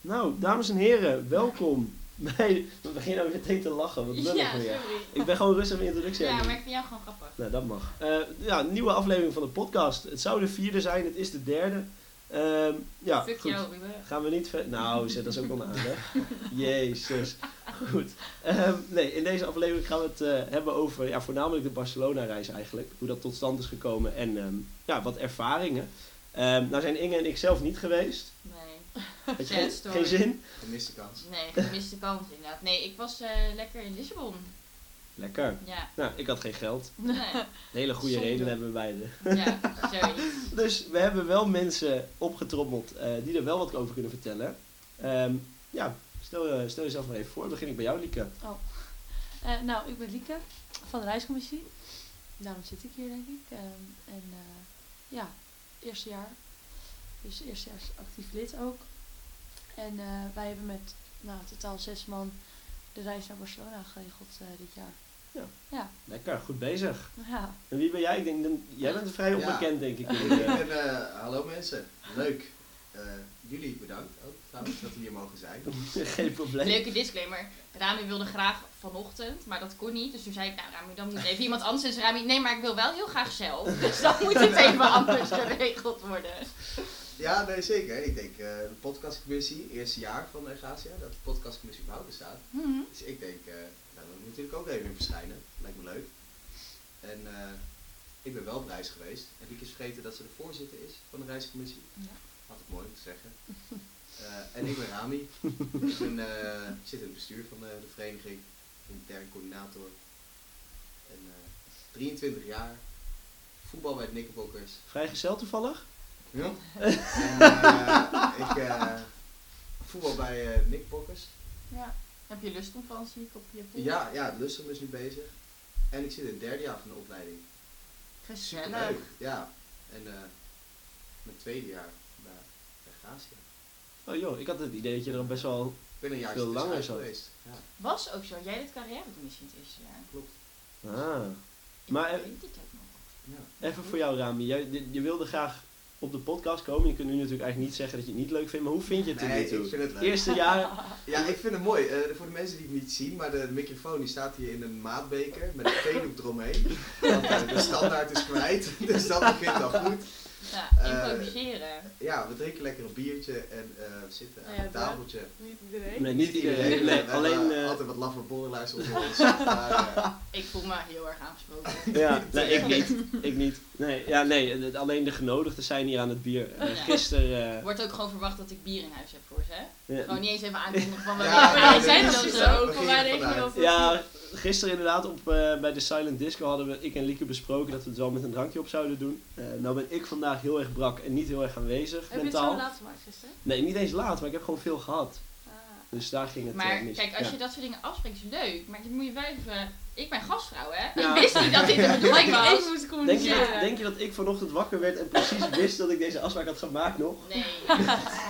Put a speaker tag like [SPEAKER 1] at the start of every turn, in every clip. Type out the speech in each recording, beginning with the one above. [SPEAKER 1] Nou, dames en heren, welkom bij... We beginnen ook meteen te lachen, wat lullig
[SPEAKER 2] Ja,
[SPEAKER 1] weer.
[SPEAKER 2] sorry.
[SPEAKER 1] Ik ben gewoon rustig mijn introductie aan
[SPEAKER 2] Ja,
[SPEAKER 1] het doen.
[SPEAKER 2] maar ik vind jou gewoon grappig.
[SPEAKER 1] Nou, dat mag. Eh, ja, een nieuwe aflevering van de podcast. Het zou de vierde zijn, het is de derde. Ehm, ja,
[SPEAKER 2] Fuck
[SPEAKER 1] goed.
[SPEAKER 2] jou, Ruben.
[SPEAKER 1] Gaan we niet ver... Nou, zet dat is ook wel een aanleg. Jezus. Goed. Ehm, nee, in deze aflevering gaan we het eh, hebben over ja, voornamelijk de Barcelona-reis eigenlijk. Hoe dat tot stand is gekomen en ehm, ja, wat ervaringen. Ehm, nou zijn Inge en ik zelf niet geweest.
[SPEAKER 2] Nee.
[SPEAKER 1] Had je
[SPEAKER 2] Sad
[SPEAKER 1] geen,
[SPEAKER 2] story.
[SPEAKER 1] geen zin?
[SPEAKER 3] Gemiste kans.
[SPEAKER 2] Nee, gemiste kans inderdaad. Nee, ik was eh, lekker in Lissabon.
[SPEAKER 1] Lekker.
[SPEAKER 2] Ja.
[SPEAKER 1] Nou, ik had geen geld.
[SPEAKER 2] Nee.
[SPEAKER 1] Een hele goede
[SPEAKER 2] Zonde.
[SPEAKER 1] reden hebben we beide.
[SPEAKER 2] Ja, zoiets.
[SPEAKER 1] Dus we hebben wel mensen opgetrommeld eh, die er wel wat over kunnen vertellen. Ehm, ja, stel, eh, stel jezelf maar even voor. Dan begin ik bij jou, Lieke.
[SPEAKER 4] Eh, nou, ik ben Lieke van de Reiscommissie. Daarom zit ik hier, denk ik. Ehm, en eh, ja, eerste jaar. Dus eerstejaars actief lid ook. En eh, wij hebben met nou, totaal zes man de reis naar Barcelona geregeld eh, dit jaar.
[SPEAKER 1] Lekker, goed bezig.
[SPEAKER 4] Ja,
[SPEAKER 1] En wie ben jij? Ik denk, dat- jij bent vrij
[SPEAKER 3] Ja.
[SPEAKER 1] onbekend, denk ik.
[SPEAKER 3] Ik
[SPEAKER 1] in de-
[SPEAKER 3] ben, eh, hallo mensen, leuk. Eh, jullie bedankt ook trouwens dat we hier mogen zijn.
[SPEAKER 1] Geen probleem.
[SPEAKER 2] Leuke disclaimer. Rami wilde graag vanochtend, maar dat kon niet. Dus toen zei ik, nou Rami, dan moet even iemand anders. Dus Rami, nee, maar ik wil wel heel graag zelf. Dus dan moet het even anders geregeld worden.
[SPEAKER 3] Ja, nee zeker. Ik denk, eh, de podcastcommissie, eerste jaar van Ergasia, dat de podcastcommissie überhaupt bestaat.
[SPEAKER 2] Mhm.
[SPEAKER 3] Dus ik denk, eh nou, daar moet natuurlijk ook even in verschijnen. Lijkt me leuk. En eh, ik ben wel op reis geweest. En ik is vergeten dat ze de voorzitter is van de reiscommissie.
[SPEAKER 2] Ja.
[SPEAKER 3] Had ik mooi moeten zeggen. Eh, en ik ben Rami. ik ben, eh, ik zit in het bestuur van eh, de vereniging. Intern coördinator. En eh, 23 jaar. Voetbal bij de Nikkelbokkers.
[SPEAKER 1] Vrijgezel toevallig?
[SPEAKER 3] Ja. en eh, ik eh, voetbal bij eh, de Nikkelbokkers.
[SPEAKER 2] Ja. Heb je lust om van, zie ik op je poel?
[SPEAKER 3] Ja, ja, Lustrum is nu bezig. En ik zit in het derde jaar van de opleiding.
[SPEAKER 2] Gezellig.
[SPEAKER 3] Ja. En eh, mijn tweede jaar bij Gracia.
[SPEAKER 1] Oh joh, ik had het idee dat je er al best wel...
[SPEAKER 3] Ik ben een jaar
[SPEAKER 1] Veel langer
[SPEAKER 3] tussenuit
[SPEAKER 1] zo.
[SPEAKER 3] geweest. Ja,
[SPEAKER 2] Was ook zo. Jij deed carrière commissie in het eerste jaar.
[SPEAKER 3] klopt.
[SPEAKER 1] Ah.
[SPEAKER 2] Ik
[SPEAKER 1] Maar, eh,
[SPEAKER 2] weet het ook nog.
[SPEAKER 3] Ja.
[SPEAKER 1] Even voor jou, Rami. Jij, je, je wilde graag op de podcast komen. Je kunt nu natuurlijk eigenlijk niet zeggen dat je het niet leuk vindt. Maar hoe vind je het
[SPEAKER 3] Nee,
[SPEAKER 1] er nu
[SPEAKER 3] ik
[SPEAKER 1] toe?
[SPEAKER 3] vind het leuk.
[SPEAKER 1] Eerste jaar...
[SPEAKER 3] Ja, ik vind het mooi. Eh, voor de mensen die het niet zien, maar de microfoon die staat hier in een maatbeker met een theedoek eromheen. Want eh, de standaard is kwijt, dus dat begint al goed.
[SPEAKER 2] Ja,
[SPEAKER 3] Eh,
[SPEAKER 2] improviseren.
[SPEAKER 3] Ja, we drinken lekker een biertje en eh, we zitten aan
[SPEAKER 4] Ja,
[SPEAKER 3] een
[SPEAKER 4] daar-
[SPEAKER 3] tafeltje.
[SPEAKER 4] niet iedereen.
[SPEAKER 1] Nee, niet iedereen.
[SPEAKER 3] We
[SPEAKER 1] Nee,
[SPEAKER 3] hebben,
[SPEAKER 1] alleen...
[SPEAKER 3] eh,
[SPEAKER 1] eh,
[SPEAKER 3] altijd wat laffe borrelaars onder ons. maar, eh,
[SPEAKER 2] Ik voel me heel erg aangesproken.
[SPEAKER 1] Ja, nee, ik niet. Ik niet. Nee, ja, nee, het- alleen de genodigden zijn hier aan het bier. Eh,
[SPEAKER 2] Ja.
[SPEAKER 1] gisteren... eh,
[SPEAKER 2] Wordt ook gewoon verwacht dat ik bier in huis heb voor ze. hè?
[SPEAKER 1] ja,
[SPEAKER 2] Gewoon niet eens even aankondigen van we
[SPEAKER 3] Ja,
[SPEAKER 2] ja,
[SPEAKER 3] nee,
[SPEAKER 2] wij
[SPEAKER 3] nee,
[SPEAKER 2] zijn
[SPEAKER 3] dat
[SPEAKER 2] dan
[SPEAKER 3] is
[SPEAKER 2] zo.
[SPEAKER 3] ook.
[SPEAKER 4] Van dus waar denk je over?
[SPEAKER 2] eh,
[SPEAKER 1] ja, gisteren inderdaad op, eh, bij de Silent Disco hadden we, ik en Lieke besproken dat we het wel met een drankje op zouden doen. Eh, nou ben ik vandaag heel erg brak en niet heel erg aanwezig
[SPEAKER 4] Heb je het
[SPEAKER 1] mentaal.
[SPEAKER 4] zo laat gemaakt gisteren?
[SPEAKER 1] Nee, niet eens laat, maar ik heb gewoon veel gehad.
[SPEAKER 4] Ah.
[SPEAKER 1] Dus daar ging het
[SPEAKER 2] Maar
[SPEAKER 1] eh, mis.
[SPEAKER 2] kijk, als je
[SPEAKER 1] Ja.
[SPEAKER 2] dat soort dingen afspreekt is leuk. Maar dat moet je wel even... Ik ben gastvrouw hè.
[SPEAKER 1] Ja.
[SPEAKER 2] Ik wist niet dat dit de bedoeling was.
[SPEAKER 4] Ah. Ik moest
[SPEAKER 1] denk, je
[SPEAKER 4] communiceren.
[SPEAKER 2] eh,
[SPEAKER 1] dat, denk je dat ik vanochtend wakker werd en precies wist dat ik deze afspraak had gemaakt nog?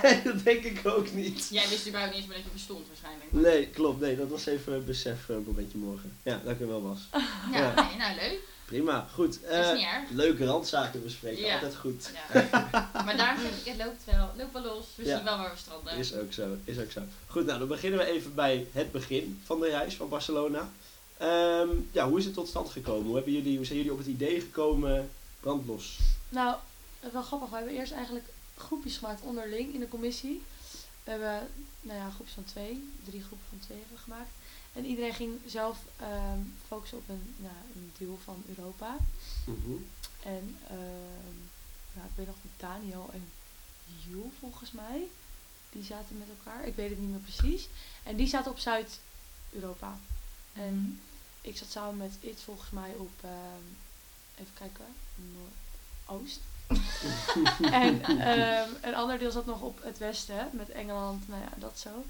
[SPEAKER 2] Nee.
[SPEAKER 1] dat denk ik ook niet.
[SPEAKER 2] Jij wist überhaupt niet eens meer dat je bestond waarschijnlijk.
[SPEAKER 1] Nee, klopt. Nee, dat was even een besef eh, een momentje morgen. Ja, dat ik er wel was.
[SPEAKER 2] Ja,
[SPEAKER 1] Ja.
[SPEAKER 2] nee, nou leuk.
[SPEAKER 1] Prima, goed.
[SPEAKER 2] Dat is
[SPEAKER 1] Eh,
[SPEAKER 2] niet erg.
[SPEAKER 1] Leuke randzaken bespreken,
[SPEAKER 2] Ja.
[SPEAKER 1] altijd goed.
[SPEAKER 2] Ja. Maar daarom zeg ik, het loopt wel. Loopt wel los. We
[SPEAKER 1] Ja.
[SPEAKER 2] zien wel waar we stranden.
[SPEAKER 1] Is ook zo, is ook zo. Goed, nou dan beginnen we even bij het begin van de reis van Barcelona. Ehm, ja, hoe is het tot stand gekomen? Hoe, hebben jullie, hoe zijn jullie op het idee gekomen? Brandlos.
[SPEAKER 4] Nou, het is wel grappig. We hebben eerst eigenlijk groepjes gemaakt onderling in de commissie. We hebben, nou ja, groepjes van twee, drie groepen van twee hebben we gemaakt. En iedereen ging zelf ehm, focussen op een, nou, een deel van Europa. En ehm, nou, ik weet nog dat Daniel en Jules volgens mij. Die zaten met elkaar. Ik weet het niet meer precies. En die zaten op Zuid-Europa. En ik zat samen met It volgens mij op, ehm, even kijken, Noordoost. en ehm, een ander deel zat nog op het westen, met Engeland, nou ja, dat zo.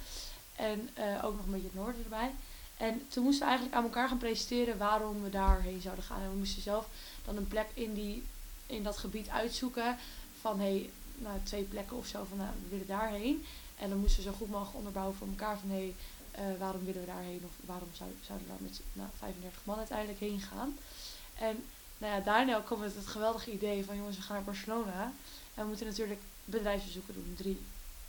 [SPEAKER 4] En eh, ook nog een beetje het noorden erbij. En toen moesten we eigenlijk aan elkaar gaan presenteren waarom we daarheen zouden gaan. En we moesten zelf dan een plek in, die, in dat gebied uitzoeken. Van hé, hey, nou twee plekken of zo, van nou, we willen daarheen. En dan moesten we zo goed mogelijk onderbouwen voor elkaar van hé, eh, waarom willen we daarheen of waarom zou, zouden we daar met nou, 35 man uiteindelijk heen gaan. En nou ja, daarna kwam het, het geweldige idee van jongens, we gaan naar Barcelona. En we moeten natuurlijk bedrijfsbezoeken doen, drie.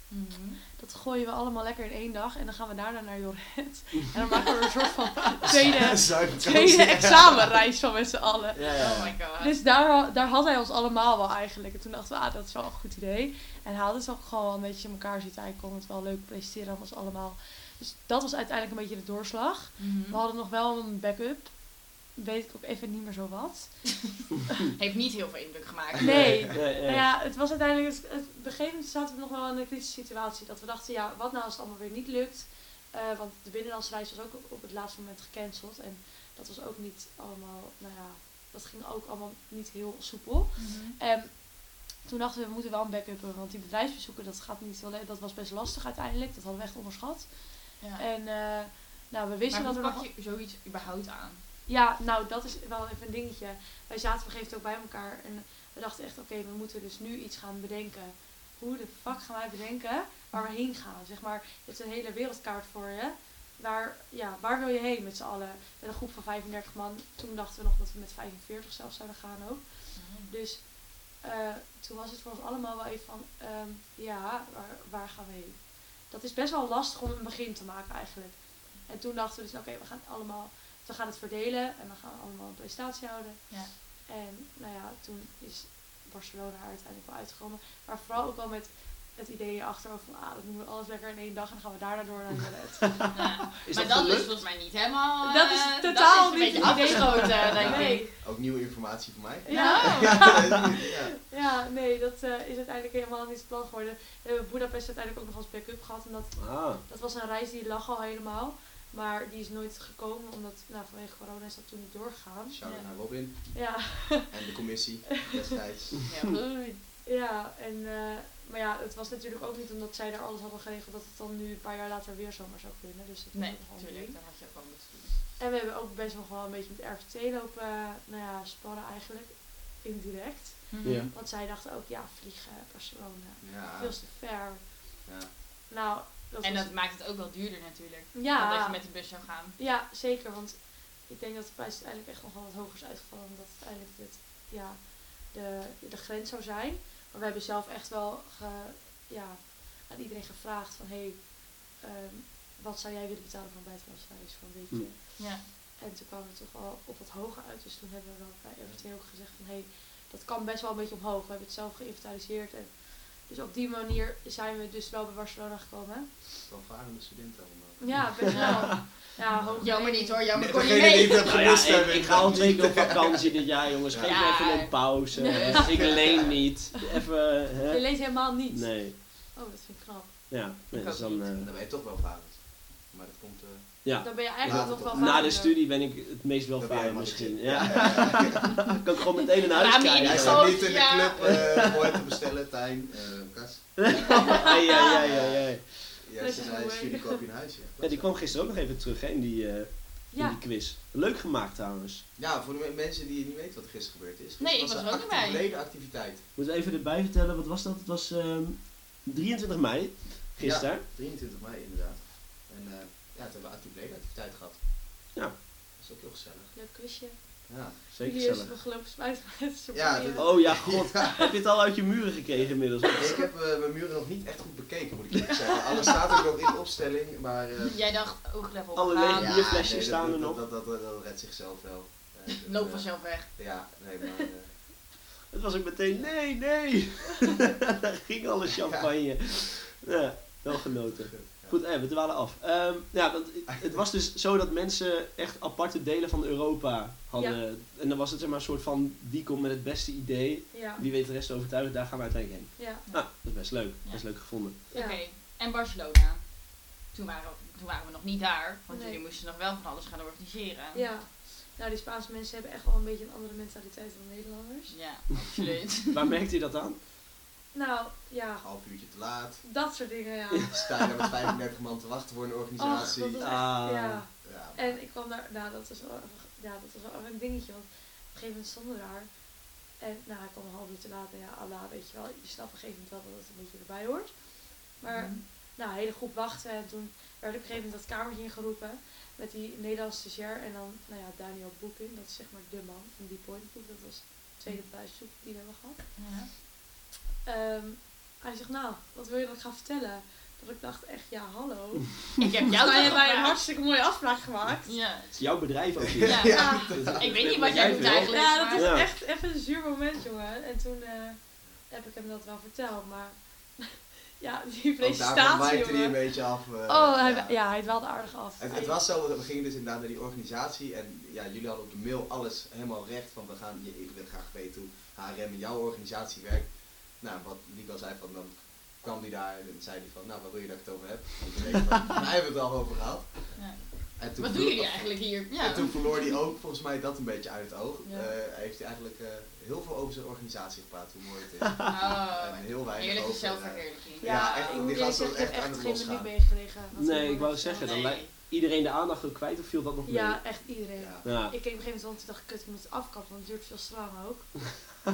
[SPEAKER 2] Mhm.
[SPEAKER 4] Dat gooien we allemaal lekker in één dag en dan gaan we daarna naar Jorret. En dan maken we een soort van tweede, tweede examenreis van met z'n allen.
[SPEAKER 3] Ja,
[SPEAKER 2] Oh
[SPEAKER 3] ja.
[SPEAKER 2] my god.
[SPEAKER 4] Dus daar, daar had hij ons allemaal wel eigenlijk. En toen dachten we, ah, dat is wel een goed idee. En hadden ze ook gewoon wel een beetje in elkaar zitten. Hij kon het wel leuk presteren aan ons allemaal. Dus dat was uiteindelijk een beetje de doorslag.
[SPEAKER 2] Mhm.
[SPEAKER 4] We hadden nog wel een backup. Weet ik ook even niet meer zo wat.
[SPEAKER 2] Heeft niet heel veel indruk gemaakt.
[SPEAKER 4] Nee.
[SPEAKER 1] Nee,
[SPEAKER 4] Nou
[SPEAKER 1] nee.
[SPEAKER 4] ja, het was uiteindelijk... Het, het- op een gegeven moment zaten we nog wel in een kritische situatie. Dat we dachten, ja, wat nou als het allemaal weer niet lukt? Eh, want de binnenlandse reis was ook op- op het laatste moment gecanceld. En dat was ook niet allemaal... Nou ja, dat ging ook allemaal niet heel soepel.
[SPEAKER 2] Mhm.
[SPEAKER 4] En Ehm, toen dachten we, we moeten wel een backup hebben, want die bedrijfsbezoeken, dat gaat niet heel le- Dat was best lastig uiteindelijk, dat hadden we echt onderschat.
[SPEAKER 2] Ja.
[SPEAKER 4] En eh, nou, we wisten
[SPEAKER 2] Maar
[SPEAKER 4] dat
[SPEAKER 2] hoe
[SPEAKER 4] er
[SPEAKER 2] pak
[SPEAKER 4] nog...
[SPEAKER 2] je zoiets überhaupt aan?
[SPEAKER 4] Ja, nou, dat is wel even een dingetje. Wij zaten op een gegeven moment ook bij elkaar en we dachten echt, oké, we moeten dus nu iets gaan bedenken. Hoe de fuck gaan wij bedenken waar we heen gaan? Zeg maar, je hebt een hele wereldkaart voor je. Waar, ja, waar wil je heen met z'n allen? Met een groep van 35 man. Toen dachten we nog dat we met 45 zelfs zouden gaan ook.
[SPEAKER 2] Mhm.
[SPEAKER 4] Dus eh, toen was het voor ons allemaal wel even van, ehm, ja, waar, waar gaan we heen? Dat is best wel lastig om een begin te maken eigenlijk. En toen dachten we dus, oké, we gaan allemaal, we gaan het verdelen en we gaan allemaal een presentatie houden.
[SPEAKER 2] Ja.
[SPEAKER 4] En nou ja, toen is Barcelona er uiteindelijk wel uitgekomen. Maar vooral ook wel met het idee achterover van, ah, dat doen we alles lekker in één dag en dan gaan we daarna door naar het toilet.
[SPEAKER 2] Ja.
[SPEAKER 1] Is
[SPEAKER 2] maar
[SPEAKER 1] dat
[SPEAKER 2] dat, is
[SPEAKER 1] gelukt?
[SPEAKER 2] volgens mij niet helemaal. eh,
[SPEAKER 4] dat is totaal
[SPEAKER 2] dat is
[SPEAKER 4] niet
[SPEAKER 2] een
[SPEAKER 4] het
[SPEAKER 2] beetje
[SPEAKER 4] idee
[SPEAKER 2] afgesloten, denk
[SPEAKER 4] Nee.
[SPEAKER 2] ik.
[SPEAKER 3] Ook nieuwe informatie voor mij. Eh,
[SPEAKER 4] Ja.
[SPEAKER 2] Nou.
[SPEAKER 3] ja.
[SPEAKER 4] Ja, nee, dat eh, is uiteindelijk helemaal niet het plan geworden. We hebben Budapest uiteindelijk ook nog als backup gehad. En dat,
[SPEAKER 1] Ah,
[SPEAKER 4] dat was een reis die lag al helemaal. Maar die is nooit gekomen, omdat nou, vanwege corona is dat toen niet doorgegaan.
[SPEAKER 3] Shout-out
[SPEAKER 2] Ja.
[SPEAKER 3] naar Robin
[SPEAKER 4] Ja,
[SPEAKER 3] en de commissie destijds.
[SPEAKER 2] Heel goed.
[SPEAKER 4] ja en, eh, maar ja, het was natuurlijk ook niet omdat zij daar alles hadden geregeld dat het dan nu een paar jaar later weer zomaar zou kunnen. Dus dat was
[SPEAKER 2] Nee,
[SPEAKER 4] ook wel een
[SPEAKER 2] natuurlijk.
[SPEAKER 4] ding.
[SPEAKER 2] Dan had je ook wel moeten doen.
[SPEAKER 4] En we hebben ook best nog wel een beetje met RVT lopen eh, nou ja, sparren eigenlijk, indirect.
[SPEAKER 1] Ja.
[SPEAKER 2] Mhm.
[SPEAKER 4] Want zij dachten ook, ja, vliegen, Barcelona,
[SPEAKER 3] Ja,
[SPEAKER 4] veel te ver.
[SPEAKER 3] ja.
[SPEAKER 4] Nou, dat
[SPEAKER 2] En
[SPEAKER 4] was...
[SPEAKER 2] dat maakt het ook wel duurder natuurlijk.
[SPEAKER 4] ja.
[SPEAKER 2] Dat je met de bus zou gaan.
[SPEAKER 4] Ja, zeker. Want ik denk dat de prijs uiteindelijk echt nog wel wat hoger is uitgevallen. Omdat uiteindelijk dit, ja, de, de grens zou zijn. Maar we hebben zelf echt wel ge- ja, aan iedereen gevraagd van... Hey, ehm, wat zou jij willen betalen voor een buitenlandsreis voor een weekje?
[SPEAKER 2] Ja.
[SPEAKER 4] En toen kwamen we toch wel op wat hoger uit. Dus toen hebben we wel bij RVT ook gezegd van... Hey, dat kan best wel een beetje omhoog. We hebben het zelf geïnventariseerd. En dus op die manier zijn we dus wel bij Barcelona gekomen.
[SPEAKER 3] Welvarende studenten allemaal.
[SPEAKER 4] Ja, best wel. Ja, hoog
[SPEAKER 2] Jammer
[SPEAKER 4] mee.
[SPEAKER 2] niet hoor, jammer kon niet
[SPEAKER 3] Degene
[SPEAKER 2] mee.
[SPEAKER 3] die het heeft
[SPEAKER 1] Nou ja,
[SPEAKER 3] gemist
[SPEAKER 1] ik,
[SPEAKER 3] hebben.
[SPEAKER 1] ik ga al twee keer op vakantie dit jaar, jongens. Geef
[SPEAKER 2] Ja.
[SPEAKER 1] me even een pauze. dus Ik leen niet. Even,
[SPEAKER 4] Je
[SPEAKER 1] hè?
[SPEAKER 4] leest helemaal niet.
[SPEAKER 1] Nee.
[SPEAKER 4] Oh, dat vind ik knap.
[SPEAKER 1] Ja, nee,
[SPEAKER 2] Ik
[SPEAKER 1] dus
[SPEAKER 2] ook
[SPEAKER 1] dan,
[SPEAKER 2] niet.
[SPEAKER 1] eh,
[SPEAKER 3] Dan ben je toch welvarend. Maar dat komt... eh
[SPEAKER 1] ja.
[SPEAKER 4] Dan ben je eigenlijk
[SPEAKER 3] Ja,
[SPEAKER 4] nog wel eh,
[SPEAKER 1] Na de
[SPEAKER 4] vader.
[SPEAKER 1] studie ben ik het meest
[SPEAKER 3] dat ben je
[SPEAKER 1] welvarend
[SPEAKER 3] helemaal
[SPEAKER 1] misschien.
[SPEAKER 3] niet.
[SPEAKER 1] Ja.
[SPEAKER 3] ja, ja.
[SPEAKER 1] Ik kan ik gewoon meteen een huis
[SPEAKER 2] Ramen
[SPEAKER 1] krijgen.
[SPEAKER 2] in
[SPEAKER 3] Jij
[SPEAKER 2] die
[SPEAKER 1] Ja,
[SPEAKER 3] staat
[SPEAKER 2] goot,
[SPEAKER 3] niet in de
[SPEAKER 2] ja.
[SPEAKER 3] club eh, voor te bestellen, Tijn. eh Kas.
[SPEAKER 1] ja, ja, ja, ja.
[SPEAKER 3] Ja,
[SPEAKER 4] This
[SPEAKER 3] ze
[SPEAKER 4] is
[SPEAKER 3] zei,
[SPEAKER 4] the way.
[SPEAKER 3] studie koop je een huis.
[SPEAKER 1] Ja, die kwam gisteren ook nog even terug hè, in, die, eh, in
[SPEAKER 4] Ja,
[SPEAKER 1] die quiz. Leuk gemaakt trouwens.
[SPEAKER 3] Ja, voor de me- mensen die niet weten wat er gisteren gebeurd is.
[SPEAKER 2] Nee, ik
[SPEAKER 3] Het
[SPEAKER 2] was
[SPEAKER 3] een
[SPEAKER 2] er ook niet
[SPEAKER 3] actieve
[SPEAKER 2] bij.
[SPEAKER 3] ledenactiviteit.
[SPEAKER 1] Moeten we even erbij vertellen, wat was dat? Het was ehm, 23 mei, gisteren.
[SPEAKER 3] 23 mei inderdaad. En eh, ja, toen hebben we actief ledenactiviteit gehad.
[SPEAKER 1] Ja.
[SPEAKER 3] Dat is ook heel gezellig.
[SPEAKER 4] leuk quizje.
[SPEAKER 3] Ja,
[SPEAKER 1] Zeker
[SPEAKER 4] Jullie is
[SPEAKER 1] gezellig.
[SPEAKER 4] nog gelopen spuit met z'n
[SPEAKER 3] Ja,
[SPEAKER 4] drieën.
[SPEAKER 3] dit-
[SPEAKER 1] Oh ja, god. Heb je het al uit je muren gekregen inmiddels?
[SPEAKER 3] ik heb eh, mijn muren nog niet echt goed bekeken, moet ik eerlijk zeggen. Alles staat ook nog in de opstelling, maar... eh,
[SPEAKER 2] Jij dacht, oh, hooglevel
[SPEAKER 1] Alle
[SPEAKER 2] opgaan.
[SPEAKER 1] lege- bierflesjes
[SPEAKER 3] dat-
[SPEAKER 1] staan
[SPEAKER 3] dat-
[SPEAKER 1] er nog.
[SPEAKER 3] Dat, dat, dat, dat redt zichzelf wel. Eh, dat,
[SPEAKER 2] Loop
[SPEAKER 3] eh,
[SPEAKER 2] vanzelf weg.
[SPEAKER 3] Ja, nee, maar... eh,
[SPEAKER 1] Het was ook meteen, nee, nee. Daar ging alle champagne. Ja, wel genoten.
[SPEAKER 3] ja.
[SPEAKER 1] Goed, eh, we dwalen af. Ehm, ja, want het was dus zo dat mensen echt aparte delen van Europa hadden. En dan was het zeg maar een soort van, die komt met het beste idee.
[SPEAKER 4] Ja,
[SPEAKER 1] Die weet de rest te overtuigen, daar gaan we uiteindelijk heen.
[SPEAKER 4] ja,
[SPEAKER 1] Nou, dat is best leuk.
[SPEAKER 2] Ja.
[SPEAKER 1] Dat is leuk gevonden.
[SPEAKER 4] ja.
[SPEAKER 2] Oké, en Barcelona. Toen waren, we- toen waren we nog niet daar, want
[SPEAKER 4] Nee.
[SPEAKER 2] jullie moesten nog wel van alles gaan organiseren.
[SPEAKER 4] ja. Nou, die Spaanse mensen hebben echt wel een beetje een andere mentaliteit dan Nederlanders.
[SPEAKER 2] Ja, absoluut.
[SPEAKER 1] Waar merkte je dat aan?
[SPEAKER 4] Nou, ja,
[SPEAKER 3] Een half uurtje te laat.
[SPEAKER 4] dat soort dingen, ja.
[SPEAKER 3] Sta je met 35 man te wachten voor een
[SPEAKER 4] Ach,
[SPEAKER 3] organisatie.
[SPEAKER 4] dat was echt,
[SPEAKER 1] Ah.
[SPEAKER 4] ja.
[SPEAKER 3] Ja,
[SPEAKER 4] Oh, En ik kwam daar, nou, dat was wel, even- ja, dat was wel even een dingetje, want op een gegeven moment stonden we daar. En, nou, ik
[SPEAKER 2] Mhm.
[SPEAKER 4] kwam een half uur te laat en ja, Allah, weet je wel, je snapt op een gegeven moment wel dat het een beetje erbij hoort. Maar nou, een hele groep wachten. En toen werd op een gegeven moment dat kamertje ingeroepen met die Nederlandse stagiair. En dan, nou ja, Daniel Boekin, dat is zeg maar de man van die point Boek. Dat was de tweede prijszoek die we hebben gehad.
[SPEAKER 2] Ja.
[SPEAKER 4] Ehm, hij zegt, nou, wat wil je dat ik ga vertellen? Dat ik dacht echt, ja, hallo.
[SPEAKER 2] Ik heb jou
[SPEAKER 4] Jij hebt
[SPEAKER 2] toch
[SPEAKER 4] mij een
[SPEAKER 2] gevraagd?
[SPEAKER 4] hartstikke mooie afspraak gemaakt.
[SPEAKER 2] Ja.
[SPEAKER 1] Het is jouw bedrijf ook hier.
[SPEAKER 2] Ja.
[SPEAKER 4] Ja.
[SPEAKER 2] Ik weet niet wat
[SPEAKER 1] Jij
[SPEAKER 2] jij doet
[SPEAKER 1] wil.
[SPEAKER 2] eigenlijk.
[SPEAKER 4] Ja, dat
[SPEAKER 2] maar-
[SPEAKER 4] is
[SPEAKER 1] Ja.
[SPEAKER 4] echt even een zuur moment, jongen. En toen eh, heb ik hem dat wel verteld, maar ja, die
[SPEAKER 3] Want daarvan wijkte
[SPEAKER 4] presentatie,
[SPEAKER 3] hij een
[SPEAKER 4] jongen.
[SPEAKER 3] beetje af. eh,
[SPEAKER 4] Oh, hij, ja.
[SPEAKER 3] ja.
[SPEAKER 4] hij dwaalde aardig af.
[SPEAKER 3] Het, het was zo, want we gingen dus inderdaad naar die organisatie en ja, jullie hadden op de mail alles helemaal recht van we gaan, je- ik wil graag weten hoe HRM in jouw organisatie werkt. Nou, wat Nico zei van, dan kwam die daar en zei hij van, nou, waar wil je dat ik het over heb? Want ik weet van, wij hebben het al over gehad.
[SPEAKER 2] Ja.
[SPEAKER 3] En
[SPEAKER 2] Wat doen jullie eigenlijk hier? Ja.
[SPEAKER 3] En toen verloor hij ook volgens mij dat een beetje uit het oog.
[SPEAKER 2] Ja.
[SPEAKER 3] Eh, heeft hij eigenlijk eh, heel veel over zijn organisatie gepraat, hoe mooi het is.
[SPEAKER 2] Oh,
[SPEAKER 3] en heel weinig
[SPEAKER 2] heerlijke
[SPEAKER 3] over, eh,
[SPEAKER 2] zelfverheerlijking.
[SPEAKER 4] ja,
[SPEAKER 3] ja, echt,
[SPEAKER 4] ik
[SPEAKER 3] die
[SPEAKER 4] moet
[SPEAKER 3] gast was
[SPEAKER 4] eerlijk zeggen, ik heb
[SPEAKER 3] echt aan
[SPEAKER 4] echt
[SPEAKER 3] het
[SPEAKER 4] geen
[SPEAKER 3] losgaan.
[SPEAKER 4] minuut meegelegen. Dat
[SPEAKER 1] Nee,
[SPEAKER 4] moet
[SPEAKER 1] ik wou
[SPEAKER 4] nog
[SPEAKER 1] zeggen,
[SPEAKER 4] vertellen.
[SPEAKER 1] dan lijkt- Iedereen de aandacht ook kwijt of viel dat nog mee?
[SPEAKER 4] Ja, echt iedereen.
[SPEAKER 3] Ja.
[SPEAKER 1] Ja.
[SPEAKER 4] Ik keek op een gegeven moment rond en dacht, kut, ik moet het afkappen, want het duurt veel te lang ook.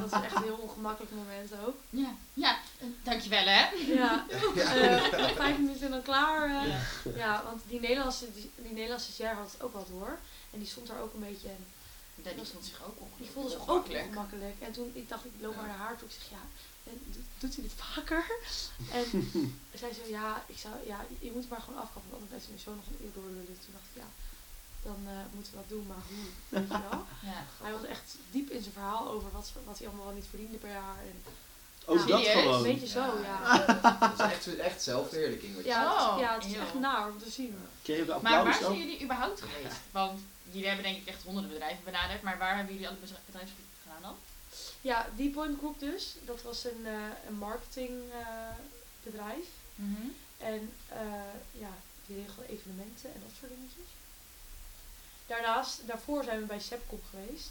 [SPEAKER 4] Dat is echt een heel ongemakkelijk moment ook.
[SPEAKER 2] Ja, ja, eh, dankjewel hè.
[SPEAKER 4] Ja,
[SPEAKER 3] Ja.
[SPEAKER 4] eh, vijf minuten en dan klaar. eh.
[SPEAKER 2] Ja.
[SPEAKER 4] Ja, want die Nederlandse, die, die Nederlandse stagiair had het ook wat door. En die stond daar ook een beetje.
[SPEAKER 2] Dat die vond zich ook
[SPEAKER 4] Die
[SPEAKER 2] ongelukkig.
[SPEAKER 4] voelde zich ook
[SPEAKER 2] Ongemakkelijk.
[SPEAKER 4] ongemakkelijk. En toen ik dacht, ik loop
[SPEAKER 3] Ja.
[SPEAKER 4] maar naar haar toe. Ik zeg ja, en doet, doet hij dit vaker? En zij zei ja, ik zou, ja, je moet het maar gewoon afkappen. Want anders blijft hij zo nog een uur doorlullen. Dus Toen dacht ik ja, dan eh, moeten we dat doen, maar hoe? Weet je wel?
[SPEAKER 2] Ja.
[SPEAKER 4] Hij was echt diep in zijn verhaal over wat, ze- wat hij allemaal wel niet verdiende per jaar. En
[SPEAKER 1] Ook dat
[SPEAKER 2] Serieus?
[SPEAKER 4] een
[SPEAKER 1] gewoon.
[SPEAKER 4] beetje zo, ja.
[SPEAKER 3] Dat is echt, echt zelfverheerlijking wat je
[SPEAKER 4] Ja, het,
[SPEAKER 2] Oh,
[SPEAKER 4] ja, het is
[SPEAKER 2] heel.
[SPEAKER 4] echt naar om te zien.
[SPEAKER 1] Kreeg je de
[SPEAKER 2] Maar waar
[SPEAKER 1] applaus
[SPEAKER 2] zijn
[SPEAKER 1] ook?
[SPEAKER 2] jullie überhaupt geweest? Want jullie hebben denk ik echt honderden bedrijven benaderd, maar waar hebben jullie alle bedrij- bedrijven gedaan dan?
[SPEAKER 4] Ja, die Point Group dus, dat was een, eh, een marketingbedrijf. en eh, ja, die regelen evenementen en dat soort dingetjes. Daarnaast, daarvoor zijn we bij Sepcom geweest.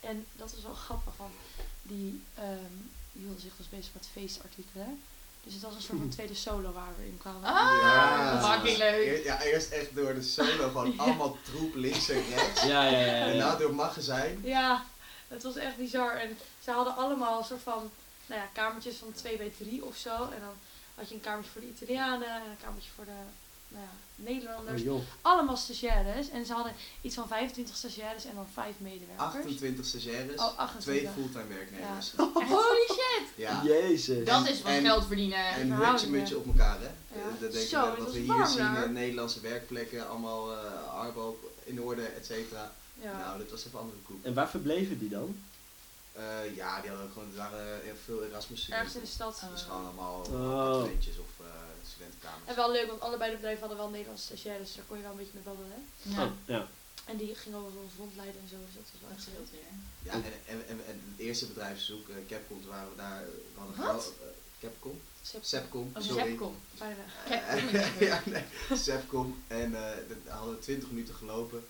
[SPEAKER 4] En dat was wel grappig, want die, ehm die hielden zich dus bezig met feestartikelen. Dus het was een soort van tweede solo waar we in kwamen.
[SPEAKER 2] Ah, fucking leuk.
[SPEAKER 3] Eer- ja, eerst echt door de solo van
[SPEAKER 4] Ja.
[SPEAKER 3] allemaal troep links en rechts.
[SPEAKER 1] Ja, ja, ja.
[SPEAKER 3] En
[SPEAKER 1] ja.
[SPEAKER 3] nou door magazijn.
[SPEAKER 4] Ja, het was echt bizar. En ze hadden allemaal een soort van nou ja, kamertjes van 2 bij 3 of zo. En dan had je een kamertje voor de Italianen en een kamertje voor de nou ja,
[SPEAKER 1] Oh
[SPEAKER 4] Nederlanders.
[SPEAKER 1] joh.
[SPEAKER 4] Allemaal stagiaires. En ze hadden iets van 25 stagiaires en dan 5 medewerkers.
[SPEAKER 3] 28 stagiaires.
[SPEAKER 4] Oh, 28.
[SPEAKER 3] Twee fulltime werknemers.
[SPEAKER 2] Holy shit!
[SPEAKER 3] Ja.
[SPEAKER 1] Jezus.
[SPEAKER 2] Dat is wat
[SPEAKER 3] En-
[SPEAKER 2] geld verdienen.
[SPEAKER 3] En
[SPEAKER 4] verhoudingen.
[SPEAKER 3] hutje mutje op elkaar, hè?
[SPEAKER 4] Ja.
[SPEAKER 3] Eh, Dat denk
[SPEAKER 4] Zo,
[SPEAKER 3] ik
[SPEAKER 4] het
[SPEAKER 3] wat
[SPEAKER 4] was
[SPEAKER 3] we hier
[SPEAKER 4] warm
[SPEAKER 3] zien
[SPEAKER 4] daar.
[SPEAKER 3] in Nederlandse werkplekken, allemaal eh, arbo in orde, et cetera.
[SPEAKER 4] Ja.
[SPEAKER 3] Nou, dit was even andere koek.
[SPEAKER 1] En waar verbleven die dan?
[SPEAKER 3] Eh, ja, die hadden ook gewoon, er waren heel veel Erasmus
[SPEAKER 4] Ergens in de
[SPEAKER 3] studenten.
[SPEAKER 4] stad.
[SPEAKER 2] Oh.
[SPEAKER 3] Dus gewoon allemaal
[SPEAKER 1] Oh.
[SPEAKER 3] studentjes of eh, studentenkamers.
[SPEAKER 4] En wel leuk, want allebei de bedrijven hadden wel Nederlandse stagiaires. Dus daar kon je wel een beetje mee babbelen.
[SPEAKER 2] Ja,
[SPEAKER 1] Oh, ja.
[SPEAKER 4] En die gingen over ons rondleiden en zo. Dus dat was wel
[SPEAKER 2] dat
[SPEAKER 4] echt heel
[SPEAKER 2] scheelt weer.
[SPEAKER 3] Ja, en, en, en, en het eerste bedrijfsbezoek, eh, Capcom, toen waren we daar, eh, we hadden
[SPEAKER 2] Wat?
[SPEAKER 3] gro- eh, Capcom?
[SPEAKER 4] Sepcom.
[SPEAKER 3] Sepcom,
[SPEAKER 2] Oh,
[SPEAKER 3] sorry.
[SPEAKER 2] Zepcom.
[SPEAKER 4] Bijna.
[SPEAKER 2] Capcom.
[SPEAKER 3] Eh, ja, nee, Sepcom. En eh, dat- daar hadden we 20 minuten gelopen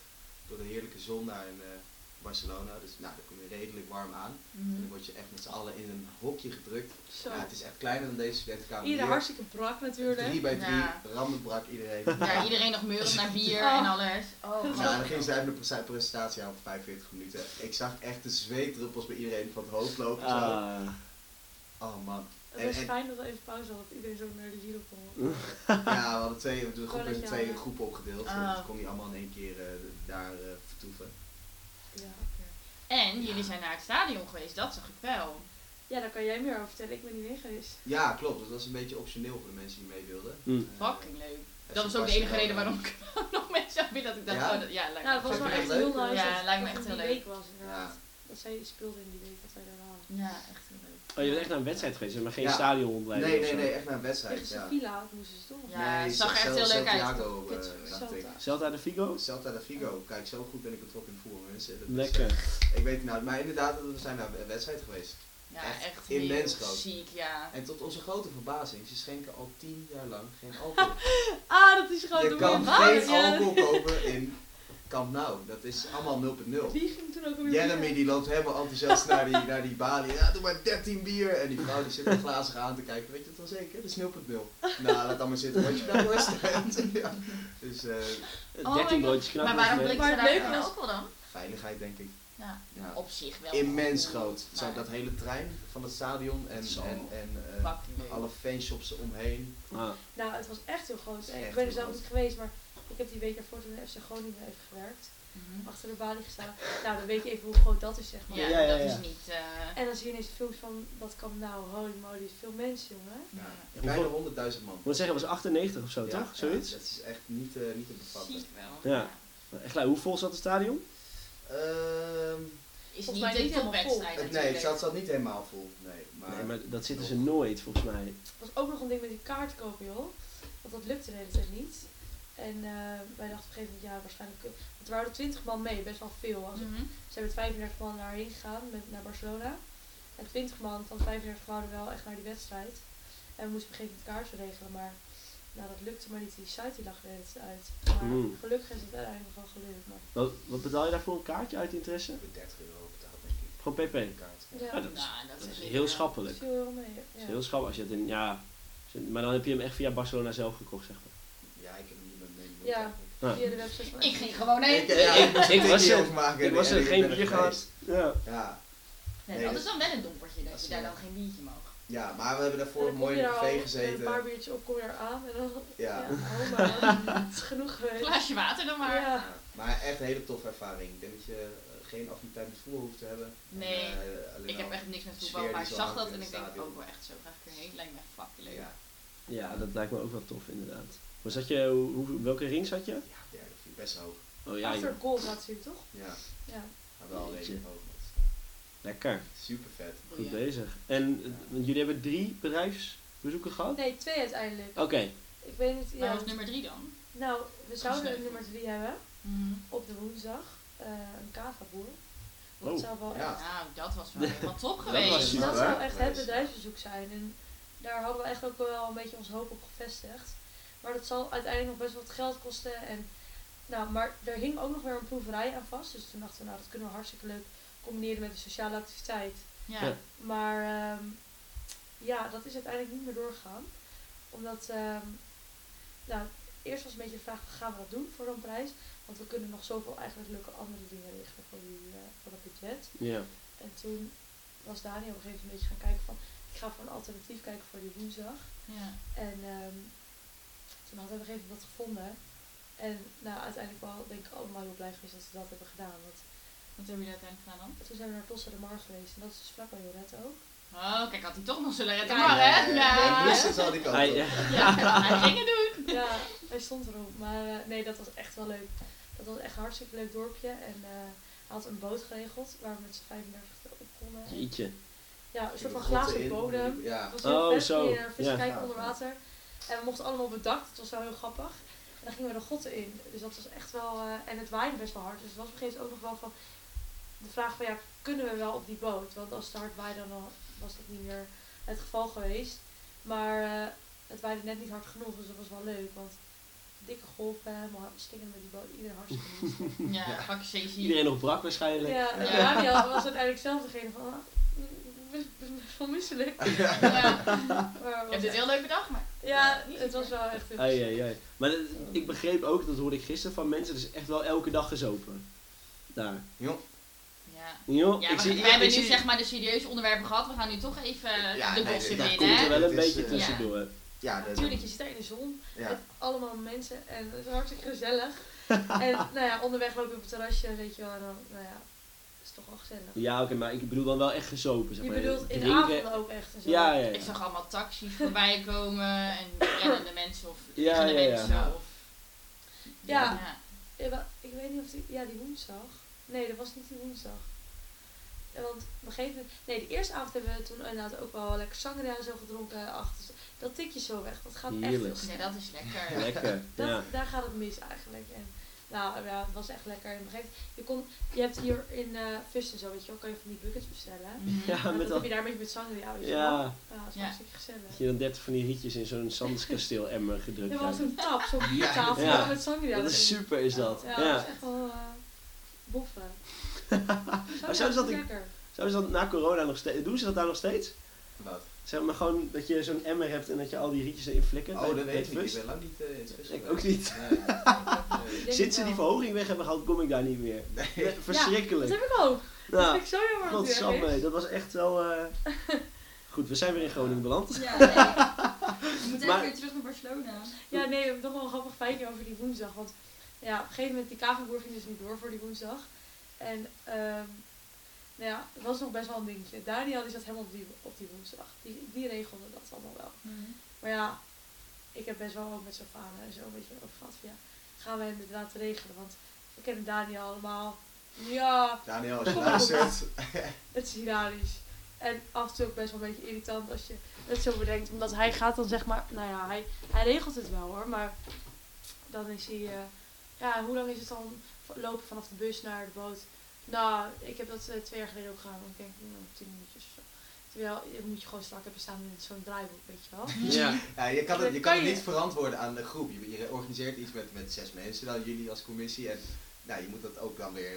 [SPEAKER 3] door de heerlijke zon daar in eh, Barcelona. Dus nou, dan kom je redelijk warm aan. En
[SPEAKER 2] Mhm.
[SPEAKER 3] dan word je echt met z'n allen in een hokje gedrukt.
[SPEAKER 4] Zo.
[SPEAKER 3] Ja, het is echt kleiner dan deze studentenkamer.
[SPEAKER 4] Ieder
[SPEAKER 3] hier.
[SPEAKER 4] hartstikke brak
[SPEAKER 3] Drie
[SPEAKER 4] natuurlijk.
[SPEAKER 3] bij drie,
[SPEAKER 2] Ja.
[SPEAKER 3] rammen brak iedereen.
[SPEAKER 2] Ja, iedereen nog meurend naar bier
[SPEAKER 4] Oh.
[SPEAKER 2] en alles. Oh,
[SPEAKER 3] Nou, dan ging zij een pre- presentatie aan voor 45 minuten. Ik zag echt de zweetdruppels bij iedereen van het hoofd lopen. zo.
[SPEAKER 1] Ah.
[SPEAKER 3] Oh man.
[SPEAKER 4] Het was
[SPEAKER 3] En- en-
[SPEAKER 4] fijn dat we even pauze hadden. Dat iedereen zo naar de Giro kon.
[SPEAKER 3] Ja, we hadden twee, de groep
[SPEAKER 4] Gewoon
[SPEAKER 3] is in
[SPEAKER 4] dat
[SPEAKER 3] twee
[SPEAKER 4] je-
[SPEAKER 3] groepen opgedeeld.
[SPEAKER 2] Ah.
[SPEAKER 3] Dus kon je allemaal in één keer eh, daar eh, vertoeven.
[SPEAKER 4] Ja.
[SPEAKER 2] En jullie zijn naar het stadion geweest, dat zag ik wel.
[SPEAKER 4] ja, daar kan jij meer over vertellen. Ik ben niet mee geweest.
[SPEAKER 3] Ja, klopt. Dat was een beetje optioneel voor de mensen die mee wilden.
[SPEAKER 1] Hm.
[SPEAKER 3] Eh,
[SPEAKER 2] Fucking leuk.
[SPEAKER 3] FC
[SPEAKER 2] Dat was ook de enige
[SPEAKER 3] Barcelona.
[SPEAKER 2] reden waarom ik nog mee zou willen. Dat ik dacht,
[SPEAKER 3] Ja?
[SPEAKER 2] oh, dat, ja, lijkt
[SPEAKER 4] Ja, dat
[SPEAKER 2] me
[SPEAKER 4] was
[SPEAKER 3] Vind
[SPEAKER 4] wel
[SPEAKER 3] je
[SPEAKER 4] echt
[SPEAKER 3] dat
[SPEAKER 4] heel
[SPEAKER 3] leuk?
[SPEAKER 4] nice.
[SPEAKER 2] Ja,
[SPEAKER 4] dat
[SPEAKER 2] lijkt me
[SPEAKER 4] het
[SPEAKER 2] echt
[SPEAKER 4] in
[SPEAKER 2] heel
[SPEAKER 4] die
[SPEAKER 2] leuk.
[SPEAKER 4] week was inderdaad.
[SPEAKER 3] Ja.
[SPEAKER 4] Dat zij speelden in die week dat wij daar waren.
[SPEAKER 2] Ja, echt heel leuk.
[SPEAKER 1] Oh, je bent echt naar een wedstrijd geweest, maar geen
[SPEAKER 3] Ja.
[SPEAKER 1] stadion rondleiding
[SPEAKER 3] Nee,
[SPEAKER 1] of
[SPEAKER 3] nee,
[SPEAKER 1] zo.
[SPEAKER 3] nee. Echt naar een wedstrijd.
[SPEAKER 4] Tegen
[SPEAKER 3] Ja.
[SPEAKER 4] Sevilla moesten ze toch?
[SPEAKER 2] Ja. het zag er echt
[SPEAKER 3] Cel-
[SPEAKER 2] heel leuk uit.
[SPEAKER 3] Santiago, eh,
[SPEAKER 2] Kut,
[SPEAKER 3] dacht ik.
[SPEAKER 4] Celta.
[SPEAKER 1] Celta de Vigo?
[SPEAKER 3] Celta de Vigo. Kijk, zo goed ben ik betrokken in voetbal, mensen. Dat is,
[SPEAKER 1] Lekker.
[SPEAKER 3] eh, ik weet het nou. Maar inderdaad, we zijn naar een wedstrijd geweest.
[SPEAKER 2] Ja,
[SPEAKER 3] Echt
[SPEAKER 2] echt,
[SPEAKER 3] immens
[SPEAKER 2] heel
[SPEAKER 3] groot.
[SPEAKER 2] ziek, ja.
[SPEAKER 3] En tot onze grote verbazing, ze schenken al tien jaar lang geen alcohol.
[SPEAKER 4] Ah, dat is gewoon
[SPEAKER 3] Je
[SPEAKER 4] de
[SPEAKER 3] kan
[SPEAKER 4] man.
[SPEAKER 3] geen
[SPEAKER 4] Ja,
[SPEAKER 3] alcohol kopen in Camp Nou. Dat is allemaal 0.0.
[SPEAKER 4] Die ging toen ook weer
[SPEAKER 3] Jeremy
[SPEAKER 4] bier.
[SPEAKER 3] die loopt helemaal enthousiast naar die, naar die balie. Ja, doe maar 13 bier. En die vrouw die zit er glazig aan te kijken. Weet je het wel zeker? Dat is 0.0. Nou, laat dan maar zitten. Want je bent rust. ja. Dus eh,
[SPEAKER 2] Oh
[SPEAKER 1] 13
[SPEAKER 2] my
[SPEAKER 1] broodjes
[SPEAKER 2] God.
[SPEAKER 1] knap.
[SPEAKER 2] Oh
[SPEAKER 1] dus
[SPEAKER 2] Maar waarom
[SPEAKER 1] was
[SPEAKER 2] bleek
[SPEAKER 1] het
[SPEAKER 4] Maar
[SPEAKER 2] ze
[SPEAKER 4] het
[SPEAKER 2] daar
[SPEAKER 4] leuke
[SPEAKER 2] geen
[SPEAKER 4] was-
[SPEAKER 2] alcohol dan?
[SPEAKER 3] veiligheid denk ik.
[SPEAKER 2] Ja,
[SPEAKER 3] Ja.
[SPEAKER 2] op zich wel.
[SPEAKER 3] Immens
[SPEAKER 2] cool,
[SPEAKER 3] groot. Zo,
[SPEAKER 2] maar
[SPEAKER 3] dat hele trein van het stadion en,
[SPEAKER 1] Zo.
[SPEAKER 3] en, en eh,
[SPEAKER 2] fucking leuk.
[SPEAKER 3] alle fanshops eromheen.
[SPEAKER 1] Ah,
[SPEAKER 4] Nou, het was echt heel
[SPEAKER 3] Echt
[SPEAKER 4] groot. ik ben er
[SPEAKER 3] heel
[SPEAKER 4] zelf
[SPEAKER 3] groot.
[SPEAKER 4] niet geweest, maar ik heb die week ervoor toen in FC Groningen even gewerkt.
[SPEAKER 2] Mhm.
[SPEAKER 4] Achter de balie gestaan. Nou, dan weet je even hoe groot dat is, zeg maar.
[SPEAKER 2] Ja,
[SPEAKER 1] Ja, ja,
[SPEAKER 2] dat
[SPEAKER 1] ja.
[SPEAKER 2] is niet... eh,
[SPEAKER 4] En dan zie je ineens films van, wat kan nou, holy moly, veel mensen, jongen.
[SPEAKER 3] Ja.
[SPEAKER 1] Ja.
[SPEAKER 3] Bijna 100.000 man.
[SPEAKER 1] ik moet zeggen, het was 98 of zo,
[SPEAKER 3] Ja,
[SPEAKER 1] toch? Zoiets?
[SPEAKER 3] Dat is echt niet, eh, niet te bevatten.
[SPEAKER 2] ziek wel.
[SPEAKER 1] Ja. Echt, nou, hoe vol zat het stadion?
[SPEAKER 3] Ehm,
[SPEAKER 2] Is
[SPEAKER 4] Volgens
[SPEAKER 2] niet
[SPEAKER 4] mij
[SPEAKER 2] de
[SPEAKER 4] niet helemaal vol.
[SPEAKER 2] topwedstrijd
[SPEAKER 3] het-
[SPEAKER 2] natuurlijk.
[SPEAKER 3] nee, het zat, zat niet helemaal vol. Nee, maar,
[SPEAKER 1] Nee, maar dat zitten ze nooit, volgens mij.
[SPEAKER 4] Het was ook nog een ding met die kaart kopen, joh. Want dat lukte de hele tijd niet. En eh, wij dachten op een gegeven moment, ja, waarschijnlijk... Want er waren 20 man mee, best wel veel. Als
[SPEAKER 2] Mhm.
[SPEAKER 4] Ze hebben 35 man daarheen gegaan, met, naar Barcelona. En 20 man van 35 wouden wel echt naar die wedstrijd. En we moesten op een gegeven moment kaarten regelen, maar nou, dat lukte maar niet. Die site die lag er de hele tijd uit. Maar
[SPEAKER 1] Mm.
[SPEAKER 4] gelukkig is het uiteindelijk wel gelukt. Maar
[SPEAKER 1] Wat, wat betaal je daarvoor een kaartje uit interesse?
[SPEAKER 3] Ik heb 30 euro betaald, denk ik.
[SPEAKER 1] Gewoon pp.
[SPEAKER 3] Een kaart.
[SPEAKER 1] Ja, dat,
[SPEAKER 4] ja,
[SPEAKER 1] is,
[SPEAKER 2] Nou, dat
[SPEAKER 1] dat is
[SPEAKER 2] echt
[SPEAKER 1] heel
[SPEAKER 2] wel-
[SPEAKER 4] dat
[SPEAKER 1] schappelijk.
[SPEAKER 4] viel wel mee.
[SPEAKER 1] Dat is
[SPEAKER 4] Ja.
[SPEAKER 1] heel schappelijk als je het in, ja. als je- Maar dan heb je hem echt via Barcelona zelf gekocht, zeg maar.
[SPEAKER 3] Ja, ik heb hem niet met mee.
[SPEAKER 4] Ja.
[SPEAKER 1] Ja.
[SPEAKER 4] Via de website van
[SPEAKER 2] Ik ging gewoon heen.
[SPEAKER 3] Ik, ja, ik moest
[SPEAKER 1] Ik
[SPEAKER 3] er
[SPEAKER 1] was
[SPEAKER 3] niet
[SPEAKER 1] er-
[SPEAKER 3] over maken.
[SPEAKER 1] ik was er
[SPEAKER 3] en
[SPEAKER 1] geen
[SPEAKER 3] ben
[SPEAKER 1] bier
[SPEAKER 3] geweest.
[SPEAKER 1] Ja.
[SPEAKER 3] Ja,
[SPEAKER 2] Nee,
[SPEAKER 3] Nee,
[SPEAKER 2] dat
[SPEAKER 3] dat-
[SPEAKER 2] is dan wel een dompertje dat
[SPEAKER 3] dat
[SPEAKER 2] je
[SPEAKER 3] is,
[SPEAKER 2] daar
[SPEAKER 3] eh,
[SPEAKER 2] dan geen biertje mag.
[SPEAKER 3] ja, maar we hebben
[SPEAKER 4] En
[SPEAKER 3] daarvoor
[SPEAKER 4] dan kom
[SPEAKER 3] mooi
[SPEAKER 4] je
[SPEAKER 3] in de
[SPEAKER 4] daar al
[SPEAKER 3] café
[SPEAKER 4] met een paar
[SPEAKER 3] gezeten.
[SPEAKER 4] biertjes op, kom je daar aan. En dan, ja,
[SPEAKER 3] Ja.
[SPEAKER 4] hou maar. Het is genoeg
[SPEAKER 2] Een
[SPEAKER 4] geweest.
[SPEAKER 2] glaasje water dan maar.
[SPEAKER 4] Ja.
[SPEAKER 3] Ja, maar echt een hele toffe ervaring. Ik denk dat je eh, geen affiniteit met voetbal hoeft te hebben. En,
[SPEAKER 2] Nee,
[SPEAKER 3] eh, alleen
[SPEAKER 2] Ik heb
[SPEAKER 3] al-
[SPEAKER 2] echt niks met
[SPEAKER 3] sfeer
[SPEAKER 2] voetbal,
[SPEAKER 3] die
[SPEAKER 2] maar ik
[SPEAKER 3] zo
[SPEAKER 2] zag
[SPEAKER 3] hangt
[SPEAKER 2] dat
[SPEAKER 3] in
[SPEAKER 2] en
[SPEAKER 3] het
[SPEAKER 2] ik denk
[SPEAKER 3] stadion.
[SPEAKER 2] ook wel echt zo graag een keer heen. Lijkt me echt fucking leuk.
[SPEAKER 3] Ja,
[SPEAKER 1] ja, dat lijkt me ook wel tof, inderdaad. Maar zat je, hoe, hoe- welke ring zat je?
[SPEAKER 3] ja, derde, vier, best hoog.
[SPEAKER 1] Oh ja,
[SPEAKER 4] Achter
[SPEAKER 1] joh.
[SPEAKER 4] het goal gaat natuurlijk, toch?
[SPEAKER 3] Ja,
[SPEAKER 4] Ja.
[SPEAKER 3] maar wel
[SPEAKER 1] Jeetje.
[SPEAKER 3] redelijk hoog.
[SPEAKER 1] lekker.
[SPEAKER 3] Super vet.
[SPEAKER 1] Goed
[SPEAKER 2] Boeien.
[SPEAKER 1] bezig. En eh, want jullie hebben drie bedrijfsbezoeken gehad?
[SPEAKER 4] Nee, twee uiteindelijk.
[SPEAKER 1] Oké.
[SPEAKER 4] Ik weet niet,
[SPEAKER 2] Maar
[SPEAKER 4] ja.
[SPEAKER 2] was nummer drie dan?
[SPEAKER 4] Nou, we zouden een
[SPEAKER 2] Gesneuveld.
[SPEAKER 4] nummer drie hebben. op de woensdag eh, een kavaboer. Dat
[SPEAKER 1] Oh,
[SPEAKER 4] zou wel
[SPEAKER 3] ja.
[SPEAKER 4] echt,
[SPEAKER 2] Nou, dat was wel helemaal top
[SPEAKER 1] Dat was
[SPEAKER 2] geweest.
[SPEAKER 1] super.
[SPEAKER 4] dat
[SPEAKER 3] waar.
[SPEAKER 4] zou echt het
[SPEAKER 3] Geweest.
[SPEAKER 4] bedrijfsbezoek zijn. En daar hadden we echt ook wel een beetje onze hoop op gevestigd. Maar dat zal uiteindelijk nog best wel wat geld kosten. En, nou, maar er hing ook nog weer een proeverij aan vast. Dus toen dachten we, nou dat kunnen we hartstikke leuk combineren met een sociale activiteit.
[SPEAKER 2] Ja.
[SPEAKER 1] Ja.
[SPEAKER 4] Maar ehm, ja, dat is uiteindelijk niet meer doorgegaan. Omdat, ehm, nou, eerst was een beetje de vraag, gaan we dat doen voor zo'n prijs? Want we kunnen nog zoveel eigenlijk leuke andere dingen regelen voor, die, eh, voor dat budget.
[SPEAKER 1] Ja.
[SPEAKER 4] En toen was Daniel op een gegeven moment een beetje gaan kijken van, ik ga voor een alternatief kijken voor die woensdag.
[SPEAKER 2] Ja.
[SPEAKER 4] En ehm, toen hadden we op een gegeven moment wat gevonden. En nou, uiteindelijk wel denk ik allemaal heel blij geweest dat we dat hebben gedaan. Want
[SPEAKER 2] Wat hebben jullie uiteindelijk gedaan dan?
[SPEAKER 4] toen zijn we naar Tossa de Mar geweest. En dat is dus vlak bij Joret ook.
[SPEAKER 2] Oh, kijk, had hij toch nog zullen redden.
[SPEAKER 4] Ja,
[SPEAKER 2] maar, hè?
[SPEAKER 3] Ik
[SPEAKER 2] Ja.
[SPEAKER 3] moest het al die kant
[SPEAKER 1] Hij,
[SPEAKER 3] op.
[SPEAKER 1] eh,
[SPEAKER 2] Ja, hij ging het doen.
[SPEAKER 4] Ja, hij stond erop. Maar eh, nee, dat was echt wel leuk. Dat was echt een hartstikke leuk dorpje. En eh, hij had een boot geregeld waar we met z'n 35 op konden.
[SPEAKER 1] jeetje.
[SPEAKER 4] Ja, een soort van
[SPEAKER 3] De grotten
[SPEAKER 4] glazen
[SPEAKER 3] in.
[SPEAKER 4] bodem.
[SPEAKER 3] Ja.
[SPEAKER 4] Het was heel
[SPEAKER 1] Oh,
[SPEAKER 4] vet,
[SPEAKER 1] zo.
[SPEAKER 4] kon je naar vissen
[SPEAKER 1] Ja.
[SPEAKER 4] kijken onder water. En we mochten allemaal op het dak, het was wel heel grappig. En dan gingen we de gotten in. Dus dat was echt wel... eh, en het waaide best wel hard. Dus het was op een gegeven moment ook nog wel van... De vraag van, ja, kunnen we wel op die boot? Want als het hard waaide, dan was dat niet meer het geval geweest. Maar eh, het waaide net niet hard genoeg, dus dat was wel leuk. Want dikke golven, helemaal stinkend met die boot. Iedereen hartstikke moe.
[SPEAKER 2] Ja, fuck CC.
[SPEAKER 1] Iedereen nog brak waarschijnlijk.
[SPEAKER 4] ja, en Daniel was uiteindelijk zelf degene van... ah, best, best- best wel misselijk.
[SPEAKER 2] Ja.
[SPEAKER 4] Maar
[SPEAKER 2] Ik
[SPEAKER 4] was
[SPEAKER 2] heb dit heel leuk bedacht, maar...
[SPEAKER 4] ja,
[SPEAKER 2] Ja.
[SPEAKER 4] het was wel echt heel
[SPEAKER 1] Ai, ai, ai. Maar dat- ik begreep ook, dat hoorde ik gisteren van mensen, dus echt wel elke dag gezopen. Daar.
[SPEAKER 3] Jong.
[SPEAKER 2] Ja.
[SPEAKER 1] Joh,
[SPEAKER 2] Ja,
[SPEAKER 1] Oh, ik
[SPEAKER 2] we,
[SPEAKER 1] zie,
[SPEAKER 2] we
[SPEAKER 1] ik
[SPEAKER 2] hebben nu
[SPEAKER 1] zie-
[SPEAKER 2] zeg maar de serieuze onderwerpen gehad. We gaan nu toch even
[SPEAKER 3] Ja,
[SPEAKER 2] de
[SPEAKER 3] nee,
[SPEAKER 2] bossen
[SPEAKER 3] dat
[SPEAKER 2] in,
[SPEAKER 1] komt er
[SPEAKER 2] hè?
[SPEAKER 1] wel een
[SPEAKER 3] Het is,
[SPEAKER 1] beetje
[SPEAKER 3] eh,
[SPEAKER 1] tussendoor.
[SPEAKER 3] Ja, dat-
[SPEAKER 1] Eh,
[SPEAKER 4] Natuurlijk, je zit daar in de zon met
[SPEAKER 3] ja.
[SPEAKER 4] allemaal mensen en het is hartstikke gezellig. en nou ja, onderweg loop je op het terrasje, weet je wel, en dan, nou ja, is toch wel gezellig.
[SPEAKER 1] Ja, oké, maar ik bedoel dan wel echt gezopen. Zeg
[SPEAKER 4] Je
[SPEAKER 1] maar.
[SPEAKER 4] bedoelt in de
[SPEAKER 1] Drinken-
[SPEAKER 4] avond ook echt en zo.
[SPEAKER 1] Ja, ja, ja.
[SPEAKER 2] Ik zag allemaal taxis voorbij komen en rennende mensen of
[SPEAKER 1] Ja,
[SPEAKER 2] liggende
[SPEAKER 1] ja, ja.
[SPEAKER 2] mensen. Of,
[SPEAKER 4] Ja.
[SPEAKER 2] ja.
[SPEAKER 4] Ja, wel, Ik weet niet of die, ja, die woensdag. Nee, dat was niet die woensdag. Ja, Want op een gegeven moment, nee, de eerste avond hebben we toen inderdaad ook wel lekker sangria en zo gedronken. achter. Dat tik je zo weg, dat gaat echt heel
[SPEAKER 1] Heerlijk.
[SPEAKER 4] snel.
[SPEAKER 2] Nee, dus dat is lekker.
[SPEAKER 1] Lekker.
[SPEAKER 4] Dat,
[SPEAKER 1] Ja.
[SPEAKER 4] Daar gaat het mis eigenlijk. En, nou ja, het was echt lekker. En op een gegeven moment- je, kon, je hebt hier in eh vis en zo, weet je wel, kan je van die buckets bestellen.
[SPEAKER 2] Mhm.
[SPEAKER 1] Ja,
[SPEAKER 4] En
[SPEAKER 1] met
[SPEAKER 4] dan
[SPEAKER 1] dat.
[SPEAKER 4] heb je daar een beetje met sangria, weet je wel.
[SPEAKER 1] Ja,
[SPEAKER 4] Ja, dat is
[SPEAKER 2] Ja.
[SPEAKER 4] hartstikke gezellig.
[SPEAKER 1] dat je dan 30 van die rietjes in zo'n Sanderskasteel-emmer gedrukt
[SPEAKER 4] Er was
[SPEAKER 1] krijgt.
[SPEAKER 4] zo'n tap, zo'n biertafel
[SPEAKER 1] Ja.
[SPEAKER 4] maar met sangria.
[SPEAKER 1] Dat is
[SPEAKER 4] erin.
[SPEAKER 1] super, is dat.
[SPEAKER 4] Ja, dat
[SPEAKER 1] Ja.
[SPEAKER 4] is echt wel eh, boffen. Sangria
[SPEAKER 1] zouden ze
[SPEAKER 4] is
[SPEAKER 1] dat in-
[SPEAKER 4] lekker.
[SPEAKER 1] Zouden ze dat na corona nog steeds. Doen ze dat daar nog steeds?
[SPEAKER 3] Wat?
[SPEAKER 1] Zeg maar gewoon dat je zo'n emmer hebt en dat je al die rietjes erin flikkert.
[SPEAKER 3] Oh,
[SPEAKER 1] bij-
[SPEAKER 3] dat
[SPEAKER 1] bij
[SPEAKER 3] weet
[SPEAKER 1] het
[SPEAKER 3] ik niet.
[SPEAKER 1] vis.
[SPEAKER 3] Ik ben lang niet eh, in het vis
[SPEAKER 1] Ik
[SPEAKER 3] geweest.
[SPEAKER 1] ook niet.
[SPEAKER 3] Nee.
[SPEAKER 4] Ik
[SPEAKER 3] Nee.
[SPEAKER 4] denk
[SPEAKER 1] Sinds ze
[SPEAKER 4] het
[SPEAKER 1] die
[SPEAKER 4] wel.
[SPEAKER 1] verhoging weg hebben gehaald, kom ik daar niet meer.
[SPEAKER 3] Nee.
[SPEAKER 4] Dat
[SPEAKER 1] Verschrikkelijk.
[SPEAKER 4] heb ik ook. Dat
[SPEAKER 1] nou,
[SPEAKER 4] vind ik zo jammer dat die weg
[SPEAKER 1] godsamme,
[SPEAKER 4] is.
[SPEAKER 1] dat was echt wel... eh, Goed, we zijn weer in Groningen beland.
[SPEAKER 5] Ja, nee. We moeten
[SPEAKER 1] Maar-
[SPEAKER 5] even weer terug naar Barcelona.
[SPEAKER 4] Ja, nee, nog wel een grappig feitje over die woensdag. Want ja, op een gegeven moment, die kavelboer ging dus niet door voor die woensdag. En ehm, nou ja, het was nog best wel een dingetje. Daniel die zat helemaal op die, op die woensdag. Die, die regelde dat allemaal wel.
[SPEAKER 5] Mhm.
[SPEAKER 4] Maar ja, ik heb best wel ook met Savannah en zo een beetje over gehad van ja, gaan we hem dit laten regelen? Want we kennen Daniel allemaal. Ja,
[SPEAKER 3] Daniel, als je luistert.
[SPEAKER 4] het is hilarisch. En af en toe ook best wel een beetje irritant als je het zo bedenkt. Omdat hij gaat dan zeg maar, nou ja, hij, hij regelt het wel hoor. Maar dan is hij, eh, ja, hoe lang is het dan v- lopen vanaf de bus naar de boot? Nou, ik heb dat eh, twee jaar geleden ook gedaan. Dan denk ik, nou, tien minuutjes of zo. Terwijl, je moet je gewoon strak hebben staan in zo'n draaiboek, weet je wel.
[SPEAKER 1] Ja.
[SPEAKER 3] Ja, je kan het, je
[SPEAKER 4] Dat
[SPEAKER 3] kan
[SPEAKER 4] kan
[SPEAKER 3] het
[SPEAKER 4] je.
[SPEAKER 3] niet verantwoorden aan de groep. Je, je organiseert iets met, met zes mensen, dan jullie als commissie. En nou, je moet dat ook dan weer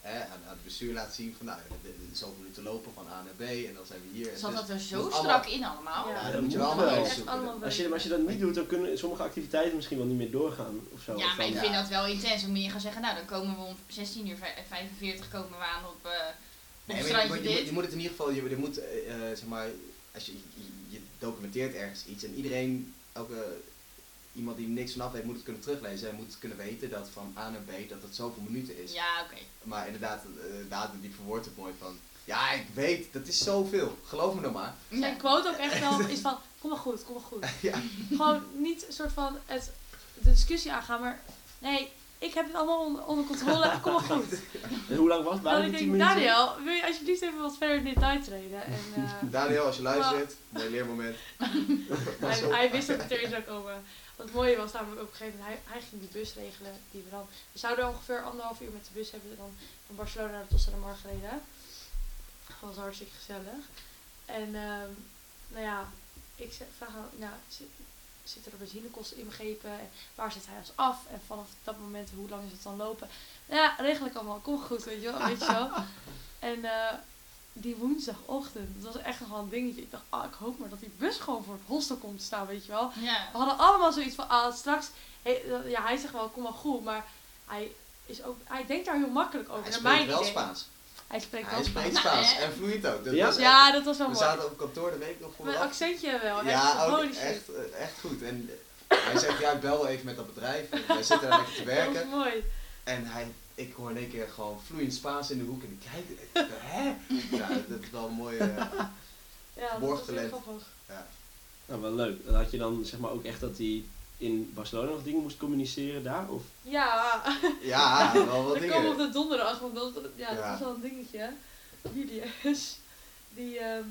[SPEAKER 3] hè, aan, aan het bestuur laten zien. Van nou, de- de- zoveel minuten lopen van A naar B en dan zijn we hier. En
[SPEAKER 2] Zat
[SPEAKER 3] dus-
[SPEAKER 2] dat er zo
[SPEAKER 3] moet allemaal-
[SPEAKER 2] strak in allemaal?
[SPEAKER 4] Ja.
[SPEAKER 3] Ja,
[SPEAKER 4] Ja,
[SPEAKER 3] dat moet je
[SPEAKER 1] moet
[SPEAKER 3] wel
[SPEAKER 1] wel.
[SPEAKER 3] allemaal
[SPEAKER 1] Echt
[SPEAKER 3] uitzoeken.
[SPEAKER 1] Als je, maar als je dat niet doet, dan kunnen sommige activiteiten misschien wel niet meer doorgaan. Of zo.
[SPEAKER 2] Ja,
[SPEAKER 1] Of
[SPEAKER 2] maar
[SPEAKER 1] dan-
[SPEAKER 2] ik
[SPEAKER 3] Ja.
[SPEAKER 2] vind dat wel intens. Om je gaat zeggen, nou dan komen we om 16 uur 45 komen we aan op, eh op
[SPEAKER 3] Nee, maar je,
[SPEAKER 2] strandje
[SPEAKER 3] moet- je,
[SPEAKER 2] dit.
[SPEAKER 3] moet- je moet het in ieder geval, je, je moet, eh, eh, zeg maar, als je, je, je documenteert ergens iets en iedereen, elke iemand die niks vanaf weet, moet het kunnen teruglezen en moet kunnen weten dat van A naar B dat het zoveel minuten is.
[SPEAKER 2] Ja, oké.
[SPEAKER 3] Maar inderdaad, eh datum die verwoordt het mooi van, ja, ik weet, dat is zoveel, geloof me dan maar.
[SPEAKER 2] Ja.
[SPEAKER 4] Zijn quote ook echt wel is van, kom maar goed, kom maar goed.
[SPEAKER 3] Ja.
[SPEAKER 4] Gewoon niet een soort van het, de discussie aangaan, maar nee, ik heb het allemaal onder, onder controle, kom maar goed.
[SPEAKER 1] En hoe lang was het?
[SPEAKER 4] Dan
[SPEAKER 1] Waren
[SPEAKER 4] Oh, ik
[SPEAKER 1] het 10
[SPEAKER 4] denk,
[SPEAKER 1] minuten?
[SPEAKER 4] Daniel, wil je alsjeblieft even wat verder in detail treden? En, eh,
[SPEAKER 3] Daniel, als je luistert, mooi leermoment. Pas
[SPEAKER 4] hij,
[SPEAKER 3] op.
[SPEAKER 4] hij wist dat het erin zou komen. Wat het mooie was namelijk op een gegeven moment, hij, hij ging die bus regelen die we dan... We zouden ongeveer anderhalf uur met de bus hebben dan van Barcelona naar Tossa de Mar gereden. Dat was hartstikke gezellig. En ehm, nou ja, ik ze- vraag hem, nou, zit, zitten er benzinekosten inbegrepen? En waar zit hij ons af? En vanaf dat moment, hoe lang is het dan lopen? Nou ja, regel ik allemaal. Kom goed, weet je wel. Weet je wel. En eh, die woensdagochtend, dat was echt nog wel een dingetje. Ik dacht, ah, ik hoop maar dat die bus gewoon voor het hostel komt te staan, weet je wel.
[SPEAKER 2] Ja.
[SPEAKER 4] We hadden allemaal zoiets van, ah, straks... He, eh, ja, hij zegt wel, kom wel goed, maar hij, is ook, hij denkt daar heel makkelijk over.
[SPEAKER 3] Hij
[SPEAKER 4] naar
[SPEAKER 3] spreekt
[SPEAKER 4] mijn
[SPEAKER 3] wel
[SPEAKER 4] idee.
[SPEAKER 3] Spaans.
[SPEAKER 4] Hij spreekt wel
[SPEAKER 3] Hij spreekt
[SPEAKER 4] Spaans.
[SPEAKER 3] Spaans
[SPEAKER 2] Nou, hè?
[SPEAKER 3] en vloeit ook. Dat
[SPEAKER 1] Ja?
[SPEAKER 3] was echt-
[SPEAKER 4] Ja, dat was wel
[SPEAKER 3] we
[SPEAKER 4] mooi.
[SPEAKER 3] zaten op kantoor de week nog voor.
[SPEAKER 4] Mijn accentje wel. echt,
[SPEAKER 3] Ja, ook
[SPEAKER 4] holy shit.
[SPEAKER 3] echt, eh, echt goed. En eh, hij zegt, ja, ik bel wel even met dat bedrijf. En Wij zitten daar lekker te
[SPEAKER 4] Dat was
[SPEAKER 3] werken.
[SPEAKER 4] mooi.
[SPEAKER 3] En hij, ik hoor in één keer gewoon vloeiend Spaans in de hoek. En ik kijk, en ik denk, hè? Ja, dat is wel een mooie... eh,
[SPEAKER 4] Ja, dat was heel
[SPEAKER 3] Borgtalent.
[SPEAKER 4] grappig.
[SPEAKER 1] Nou, wel leuk. En Had je dan zeg maar ook echt dat hij in Barcelona nog dingen moest communiceren daar? Of?
[SPEAKER 4] Ja,
[SPEAKER 3] ja, wel wat
[SPEAKER 4] we komen op
[SPEAKER 3] dingen.
[SPEAKER 4] de donderdag, want dat, ja, dat
[SPEAKER 3] Ja.
[SPEAKER 4] was wel een dingetje. Julius, die... ehm,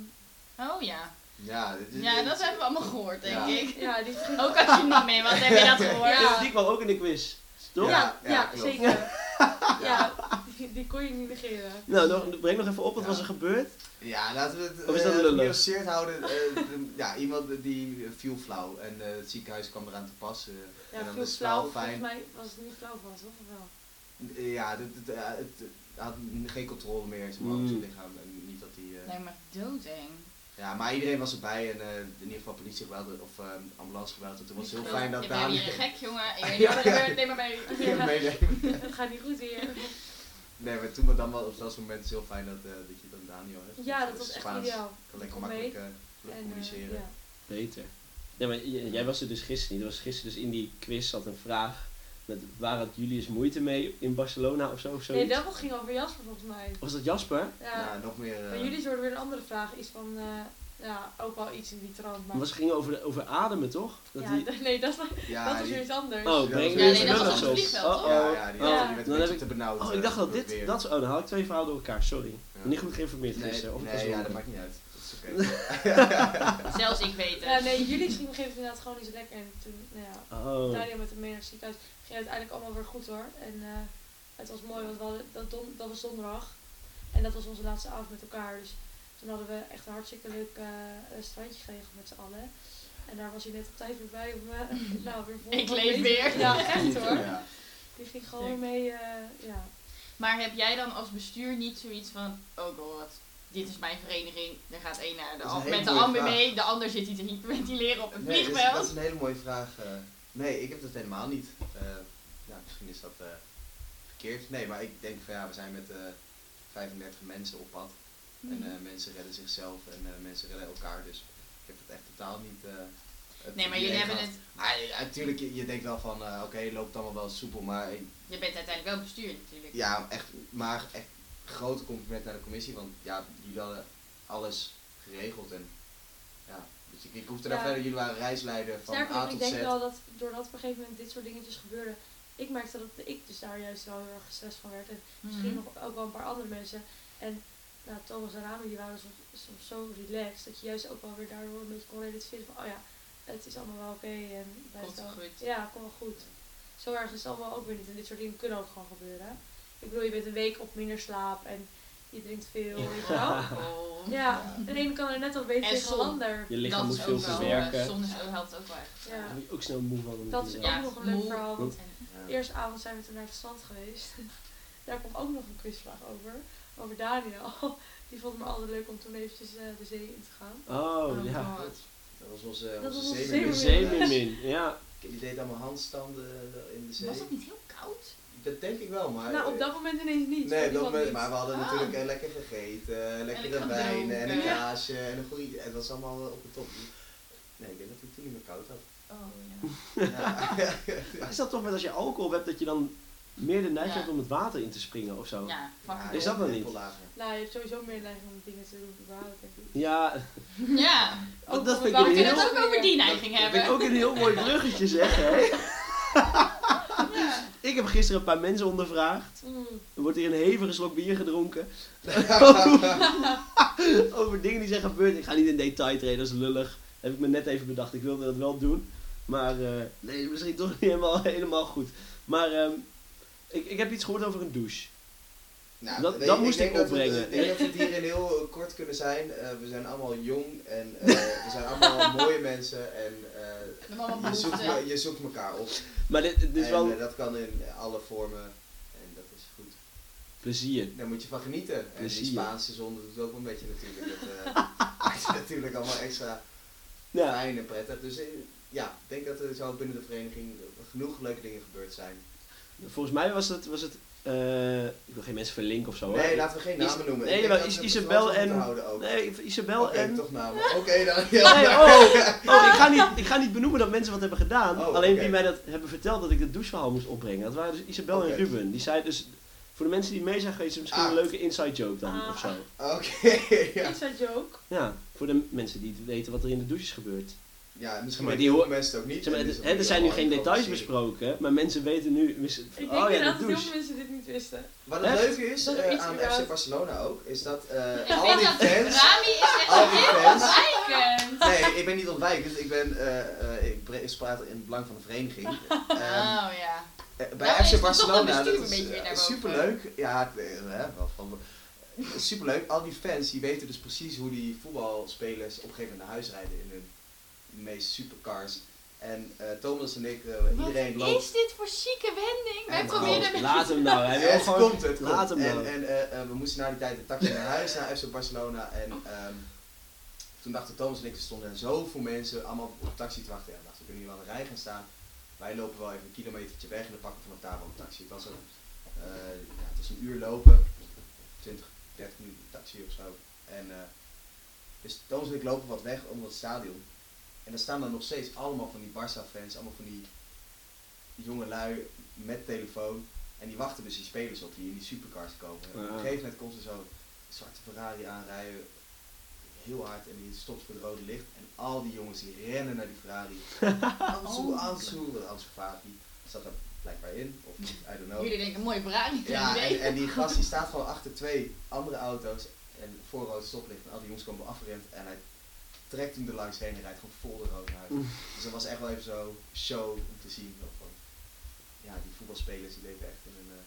[SPEAKER 2] Oh ja.
[SPEAKER 3] Ja, dit is,
[SPEAKER 2] Ja, dat hebben we allemaal gehoord, denk
[SPEAKER 3] Ja.
[SPEAKER 2] ik.
[SPEAKER 4] Ja, die ging-
[SPEAKER 2] Ook als je niet mee was, heb je dat gehoord.
[SPEAKER 1] Ja.
[SPEAKER 4] Ja.
[SPEAKER 1] Die kwam ook in de quiz, toch?
[SPEAKER 4] ja,
[SPEAKER 3] Ja,
[SPEAKER 4] ja,
[SPEAKER 3] ja, klopt.
[SPEAKER 4] zeker. Ja, die, die kon je niet negeren.
[SPEAKER 1] Nou, nog, breng nog even op, wat
[SPEAKER 3] Ja.
[SPEAKER 1] was er gebeurd?
[SPEAKER 3] Ja, laten we het
[SPEAKER 1] Of is dat
[SPEAKER 3] eh,
[SPEAKER 1] lullig?
[SPEAKER 3] genuanceerd houden. Eh, de- ja, iemand die viel flauw en eh, het ziekenhuis kwam eraan te pas. eh,
[SPEAKER 4] Ja,
[SPEAKER 3] en dan
[SPEAKER 4] veel
[SPEAKER 3] is het wel
[SPEAKER 4] flauw.
[SPEAKER 3] fijn.
[SPEAKER 4] Volgens mij was het niet flauw van, toch? Of wel?
[SPEAKER 3] Eh, Ja, dat- dat- eh, het het had geen controle meer zeg maar, over
[SPEAKER 1] Mm.
[SPEAKER 3] zijn lichaam. En niet dat hij... eh,
[SPEAKER 2] Lijkt me doodeng.
[SPEAKER 3] ja, maar iedereen was erbij en eh, in ieder geval politie gebeld of eh, ambulance gebeld. En toen was het heel
[SPEAKER 2] Ik
[SPEAKER 3] fijn
[SPEAKER 2] wil-
[SPEAKER 3] dat
[SPEAKER 2] Ik ben
[SPEAKER 3] Daan...
[SPEAKER 2] hier een gek, jongen. Ik weet niet wat er gebeurt, neem maar mee.
[SPEAKER 4] Ja.
[SPEAKER 3] meenemen.
[SPEAKER 4] Het gaat niet goed weer.
[SPEAKER 3] Nee, maar toen maar dan wel op dat moment is het heel fijn dat, eh, dat je dan Daniel hebt.
[SPEAKER 4] Ja,
[SPEAKER 3] Dus
[SPEAKER 4] dat was echt
[SPEAKER 3] Spaans
[SPEAKER 4] ideaal.
[SPEAKER 3] Kan lekker
[SPEAKER 4] Kom
[SPEAKER 3] makkelijk
[SPEAKER 4] mee.
[SPEAKER 3] eh,
[SPEAKER 4] En, eh,
[SPEAKER 3] communiceren.
[SPEAKER 4] ja.
[SPEAKER 1] Beter. Nee, maar j- jij was er dus gisteren niet. Er was gisteren dus in die quiz zat een vraag met waar had Julius moeite mee in Barcelona of zo of
[SPEAKER 4] Nee,
[SPEAKER 1] zoiets.
[SPEAKER 4] dat ging over Jasper volgens mij.
[SPEAKER 1] Was dat Jasper?
[SPEAKER 4] Ja.
[SPEAKER 3] Nou, nog meer... eh,
[SPEAKER 4] Bij jullie hoorden weer een andere vraag. Iets van, eh, ja, ook wel iets in die trant. Maar
[SPEAKER 1] Maar ze gingen over, over ademen, toch? Dat
[SPEAKER 4] ja,
[SPEAKER 1] die-
[SPEAKER 4] d- nee, dat, was-
[SPEAKER 3] ja,
[SPEAKER 4] dat was
[SPEAKER 3] die-
[SPEAKER 4] weer iets anders.
[SPEAKER 1] Oh, breng
[SPEAKER 3] Ja,
[SPEAKER 1] me
[SPEAKER 3] nee,
[SPEAKER 1] eens
[SPEAKER 3] dat
[SPEAKER 1] een
[SPEAKER 3] was
[SPEAKER 1] lullig
[SPEAKER 3] op het
[SPEAKER 1] op.
[SPEAKER 2] vliegveld,
[SPEAKER 1] Oh,
[SPEAKER 2] toch?
[SPEAKER 1] oh.
[SPEAKER 3] Ja, ja, die
[SPEAKER 1] Oh.
[SPEAKER 3] had
[SPEAKER 4] Ja.
[SPEAKER 3] je met
[SPEAKER 1] Dan
[SPEAKER 3] een
[SPEAKER 1] heb
[SPEAKER 3] beetje te benauwd.
[SPEAKER 1] Oh,
[SPEAKER 3] eh,
[SPEAKER 1] ik dacht dat
[SPEAKER 3] weer.
[SPEAKER 1] dit... Dat, is- oh, dan haal ik twee verhalen door elkaar, sorry. Ik ben Niet goed geïnformeerd
[SPEAKER 3] Nee,
[SPEAKER 1] gisteren. of ik was
[SPEAKER 3] nee, ja,
[SPEAKER 1] dronken.
[SPEAKER 3] dat maakt niet uit. Dat is oké.
[SPEAKER 2] Zelfs ik weet
[SPEAKER 4] Ja,
[SPEAKER 2] het.
[SPEAKER 4] nee, jullie gingen op een gegeven moment inderdaad gewoon niet zo lekker. En toen, nou ja,
[SPEAKER 1] Oh,
[SPEAKER 4] Daniel met hem mee naar het ziekenhuis. Ging uiteindelijk allemaal weer goed hoor. En eh, het was mooi, want we hadden, dat, don, dat was donderdag. En dat was onze laatste avond met elkaar. Dus toen hadden we echt een hartstikke leuk eh, eh, strandje geregeld met z'n allen. En daar was hij net op tijd weer bij om eh, nou, weer vol.
[SPEAKER 2] Ik
[SPEAKER 4] vol
[SPEAKER 2] leef
[SPEAKER 4] mee-
[SPEAKER 2] weer.
[SPEAKER 4] Ja, echt hoor.
[SPEAKER 3] Ja.
[SPEAKER 4] Die ging gewoon mee, eh, ja.
[SPEAKER 2] Maar heb jij dan als bestuur niet zoiets van, oh god, dit is mijn vereniging, daar gaat één naar de
[SPEAKER 3] Dat is een
[SPEAKER 2] ander.
[SPEAKER 3] hele
[SPEAKER 2] Met de
[SPEAKER 3] mooie
[SPEAKER 2] ander
[SPEAKER 3] vraag.
[SPEAKER 2] mee, de ander zit hier te hyperventileren op een
[SPEAKER 3] Nee, dat is,
[SPEAKER 2] vliegveld.
[SPEAKER 3] dat is een hele mooie vraag. eh. nee, ik heb dat helemaal niet. Eh, nou, misschien is dat eh, verkeerd. Nee, maar ik denk van ja, we zijn met eh 35 mensen op pad. En
[SPEAKER 2] Mhm.
[SPEAKER 3] eh, mensen redden zichzelf en eh, mensen redden elkaar. Dus ik heb het echt totaal niet. eh, het
[SPEAKER 2] nee, maar
[SPEAKER 3] idee
[SPEAKER 2] jullie hebben
[SPEAKER 3] gehad.
[SPEAKER 2] het,
[SPEAKER 3] Maar, eh, natuurlijk, je, je denkt wel van eh, oké, het loopt allemaal wel soepel. Maar ik-
[SPEAKER 2] je bent uiteindelijk wel bestuur natuurlijk.
[SPEAKER 3] ja, echt, maar echt grote compliment naar de commissie. Want ja, jullie hadden alles geregeld. En, ja, dus ik, ik hoefde daar
[SPEAKER 4] Ja.
[SPEAKER 3] verder, jullie waren reisleider van
[SPEAKER 4] Sterker
[SPEAKER 3] A
[SPEAKER 4] nog,
[SPEAKER 3] tot
[SPEAKER 4] ik
[SPEAKER 3] Z.
[SPEAKER 4] denk wel dat doordat op een gegeven moment dit soort dingetjes gebeurden, ik merkte dat ik dus daar juist wel heel erg gestrest van werd. En misschien
[SPEAKER 2] Mhm.
[SPEAKER 4] nog ook wel een paar andere mensen. En nou, Thomas en Rami die waren soms, soms zo relaxed dat je juist ook wel weer daardoor een beetje kon relativeren van, oh ja, het is allemaal wel oké en wij
[SPEAKER 2] Komt
[SPEAKER 4] staan-
[SPEAKER 2] goed.
[SPEAKER 4] Ja, kom wel goed. Zo erg is het allemaal ook weer niet. En dit soort dingen kunnen ook gewoon gebeuren. Ik bedoel, je bent een week op minder slaap en je drinkt veel, weet je wel.
[SPEAKER 2] Oh.
[SPEAKER 4] Ja, de ene kan er net wat beter
[SPEAKER 2] En
[SPEAKER 4] tegen de
[SPEAKER 2] zon.
[SPEAKER 4] ander.
[SPEAKER 1] Je lichaam
[SPEAKER 2] dat
[SPEAKER 1] moet
[SPEAKER 2] is
[SPEAKER 1] veel
[SPEAKER 2] ook wel,
[SPEAKER 1] verwerken.
[SPEAKER 2] eh, Zon is, helpt ook wel echt.
[SPEAKER 4] Ja.
[SPEAKER 1] Daar word je ook snel moe van.
[SPEAKER 4] Dat is ook
[SPEAKER 2] Ja,
[SPEAKER 4] nog een leuk
[SPEAKER 2] moe.
[SPEAKER 4] verhaal. Want
[SPEAKER 2] En-
[SPEAKER 3] Ja.
[SPEAKER 4] de eerste avond zijn we toen naar het strand geweest. Daar kwam ook nog een quizvraag over. Over Daniel. Die vond me altijd leuk om toen eventjes eh, de zee in te gaan.
[SPEAKER 1] Oh,
[SPEAKER 2] oh
[SPEAKER 1] ja.
[SPEAKER 2] God.
[SPEAKER 3] Dat was onze,
[SPEAKER 4] Dat
[SPEAKER 3] onze
[SPEAKER 4] was onze
[SPEAKER 1] De
[SPEAKER 3] zeemeermin.
[SPEAKER 1] zeemermin, ja.
[SPEAKER 3] Die deed allemaal handstanden eh, in de zee.
[SPEAKER 2] Was het niet heel koud?
[SPEAKER 3] Dat denk ik wel, maar... eh,
[SPEAKER 4] nou, op dat moment ineens niet.
[SPEAKER 3] Ah, Nee,
[SPEAKER 4] want
[SPEAKER 3] op dat
[SPEAKER 4] die kwam
[SPEAKER 3] moment,
[SPEAKER 4] niet.
[SPEAKER 3] maar we hadden
[SPEAKER 2] Ah.
[SPEAKER 3] natuurlijk eh, lekker gegeten, eh, lekkere
[SPEAKER 2] lekker
[SPEAKER 3] wijn en een
[SPEAKER 2] gedronken. Ja.
[SPEAKER 3] kaasje en een goede... Het was allemaal op de top. Nee, ik denk dat ik toen niet meer koud had.
[SPEAKER 2] Oh ja.
[SPEAKER 3] Ja.
[SPEAKER 1] Is dat toch met als je alcohol hebt dat je dan meer de neiging
[SPEAKER 2] Ja.
[SPEAKER 1] hebt om het water in te springen of zo?
[SPEAKER 2] Ja, fucking
[SPEAKER 1] Is
[SPEAKER 2] cool.
[SPEAKER 1] dat wel niet?
[SPEAKER 4] Nou, je hebt sowieso meer neiging om dingen te doen, überhaupt, denk ik.
[SPEAKER 1] Ja,
[SPEAKER 2] Ja,
[SPEAKER 1] dat
[SPEAKER 4] op
[SPEAKER 1] vind
[SPEAKER 4] een
[SPEAKER 1] ik
[SPEAKER 2] Oh, we
[SPEAKER 4] bepaalde
[SPEAKER 2] kunnen
[SPEAKER 1] heel-
[SPEAKER 2] het ook over die
[SPEAKER 3] dat-
[SPEAKER 2] neiging
[SPEAKER 1] Dat vind ik
[SPEAKER 2] hebben.
[SPEAKER 1] ook een heel mooi bruggetje zeg, hè? Ik heb gisteren een paar mensen ondervraagd.
[SPEAKER 4] Mm.
[SPEAKER 1] Er wordt hier een hevige slok bier gedronken. Over dingen die zijn gebeurd. Ik ga niet in detail treden, dat is lullig. Heb ik me net even bedacht. Ik wilde dat wel doen. Maar eh, nee, misschien toch niet helemaal, helemaal goed. Maar ehm, ik, ik heb iets gehoord over een douche.
[SPEAKER 3] Nou,
[SPEAKER 1] Dat-
[SPEAKER 3] weet
[SPEAKER 1] dat
[SPEAKER 3] je,
[SPEAKER 1] moest
[SPEAKER 3] denk
[SPEAKER 1] ik
[SPEAKER 3] dat we-
[SPEAKER 1] opbrengen.
[SPEAKER 3] Ik denk dat we het hierin heel eh, kort kunnen zijn. Eh, we zijn allemaal jong en eh, we zijn allemaal mooie mensen en eh,
[SPEAKER 2] De mama
[SPEAKER 3] je, zoekt,
[SPEAKER 2] behoefte.
[SPEAKER 3] me- je zoekt elkaar op.
[SPEAKER 1] Maar dit, dit is
[SPEAKER 3] en
[SPEAKER 1] wel
[SPEAKER 3] eh, dat kan in alle vormen en dat is goed.
[SPEAKER 1] plezier.
[SPEAKER 3] Daar moet je van genieten. En die
[SPEAKER 1] Plezier.
[SPEAKER 3] Spaanse zon doet het ook een beetje natuurlijk. Dat eh, maakt het natuurlijk allemaal extra
[SPEAKER 1] Ja,
[SPEAKER 3] fijn en prettig. Dus eh, ja, ik denk dat er zo binnen de vereniging genoeg leuke dingen gebeurd zijn.
[SPEAKER 1] volgens mij was het... Was het eh, ik wil geen mensen verlinken of zo. hoor.
[SPEAKER 3] Nee, laten we geen
[SPEAKER 1] Is-
[SPEAKER 3] namen noemen.
[SPEAKER 1] nee,
[SPEAKER 3] Ik denk
[SPEAKER 1] maar
[SPEAKER 3] dat
[SPEAKER 1] is-
[SPEAKER 3] we het
[SPEAKER 1] Isabel
[SPEAKER 3] wel zo moeten
[SPEAKER 1] en-
[SPEAKER 3] houden ook.
[SPEAKER 1] Nee, Isabel
[SPEAKER 3] Oké,
[SPEAKER 1] en...
[SPEAKER 3] toch namen. Oké, dan.
[SPEAKER 1] Nee, oh, oh ik, ga niet, ik ga niet benoemen dat mensen wat hebben gedaan.
[SPEAKER 3] Oh,
[SPEAKER 1] alleen
[SPEAKER 3] oké.
[SPEAKER 1] wie mij dat hebben verteld dat ik het doucheverhaal moest opbrengen. Dat waren dus Isabel
[SPEAKER 3] Oké.
[SPEAKER 1] en Ruben. Die zei dus, voor de mensen die mee zijn geweest, is het misschien
[SPEAKER 3] Ah.
[SPEAKER 1] een leuke inside joke dan
[SPEAKER 4] Ah.
[SPEAKER 1] of zo.
[SPEAKER 3] Oké, ja.
[SPEAKER 4] Inside joke.
[SPEAKER 1] Ja, voor de mensen die weten wat er in de douches gebeurt.
[SPEAKER 3] Ja, misschien
[SPEAKER 1] Maar
[SPEAKER 3] maar
[SPEAKER 1] die hoor-
[SPEAKER 3] mensen het ook niet.
[SPEAKER 1] Zeg maar,
[SPEAKER 3] en
[SPEAKER 1] het-
[SPEAKER 3] is dat
[SPEAKER 1] hè, er zijn nu
[SPEAKER 3] natuurlijk
[SPEAKER 1] geen
[SPEAKER 3] wel een
[SPEAKER 1] details
[SPEAKER 3] grote serie.
[SPEAKER 1] besproken, maar mensen weten nu. mis-
[SPEAKER 4] Ik denk
[SPEAKER 1] Oh ja, de
[SPEAKER 4] inderdaad dat
[SPEAKER 1] douche.
[SPEAKER 4] veel mensen dit niet wisten.
[SPEAKER 3] Wat het
[SPEAKER 1] Echt?
[SPEAKER 3] leuke is
[SPEAKER 4] Dat er
[SPEAKER 3] eh,
[SPEAKER 4] iets
[SPEAKER 3] aan
[SPEAKER 4] überhaupt-
[SPEAKER 3] FC Barcelona ook, is dat eh,
[SPEAKER 2] Ik
[SPEAKER 3] al
[SPEAKER 2] vind
[SPEAKER 3] die
[SPEAKER 2] dat
[SPEAKER 3] fans...
[SPEAKER 2] Rami is echt
[SPEAKER 3] Al die
[SPEAKER 2] heel
[SPEAKER 3] fans.
[SPEAKER 2] ontwijkend.
[SPEAKER 3] Nee, ik ben niet ontwijkend. Ik ben, eh, eh, ik bre- ik praat in het belang van de vereniging. Ehm,
[SPEAKER 2] Oh ja.
[SPEAKER 3] eh, bij
[SPEAKER 2] Nou, is het
[SPEAKER 3] FC
[SPEAKER 2] toch een
[SPEAKER 3] Barcelona,
[SPEAKER 2] bestuur
[SPEAKER 3] dat
[SPEAKER 2] een
[SPEAKER 3] is
[SPEAKER 2] beetje weer
[SPEAKER 3] eh,
[SPEAKER 2] naar boven.
[SPEAKER 3] superleuk. Ja, het, eh, hè, wel van- eh, superleuk. Al die fans, die weten dus precies hoe die voetbalspelers op een gegeven moment naar huis rijden in hun meest supercars. En eh, Thomas en ik, eh, iedereen
[SPEAKER 2] Wat
[SPEAKER 3] loopt
[SPEAKER 2] is dit voor chique wending? Wij
[SPEAKER 3] En
[SPEAKER 2] proberen
[SPEAKER 1] Oh,
[SPEAKER 2] met
[SPEAKER 1] laat hem nou, hij
[SPEAKER 3] En
[SPEAKER 1] wil
[SPEAKER 3] het
[SPEAKER 1] gewoon.
[SPEAKER 3] komt, het komt.
[SPEAKER 1] laat hem nou.
[SPEAKER 3] en en eh, eh, we moesten na die tijd een taxi naar huis, naar FC Barcelona. En ehm, toen dachten Thomas en ik, er stonden er zoveel mensen allemaal op de taxi te wachten. En we dachten, we kunnen hier wel aan de rij gaan staan. Wij lopen wel even een kilometertje weg en dan pakken we vanaf daar wel een taxi. Het was, ook, eh, ja, het was een uur lopen, 20, 30 minuten taxi of zo. En, eh, dus Thomas en ik lopen wat weg om het stadion. En daar staan dan nog steeds allemaal van die Barça-fans, allemaal van die jonge lui met telefoon. En die wachten dus die spelers op die in die supercars komen. En op een
[SPEAKER 1] Ja.
[SPEAKER 3] gegeven moment komt er zo'n zwarte Ferrari aanrijden, heel hard, en die stopt voor het rode licht. En al die jongens die rennen naar die Ferrari. Ansu, Ansu, want Ansu Fati zat er blijkbaar in, of I don't know.
[SPEAKER 2] Jullie denken, mooi Ferrari.
[SPEAKER 3] Ja, en,
[SPEAKER 2] idee.
[SPEAKER 3] en die gast die staat gewoon achter twee andere auto's en voor rood stoplicht. En al die jongens komen afgerend en hij trekt hem er langs heen en rijdt gewoon vol de rood naar huis.
[SPEAKER 1] Oeh.
[SPEAKER 3] Dus dat was echt wel even zo show om te zien. Van, van, ja, die voetbalspelers die leven echt in een uh,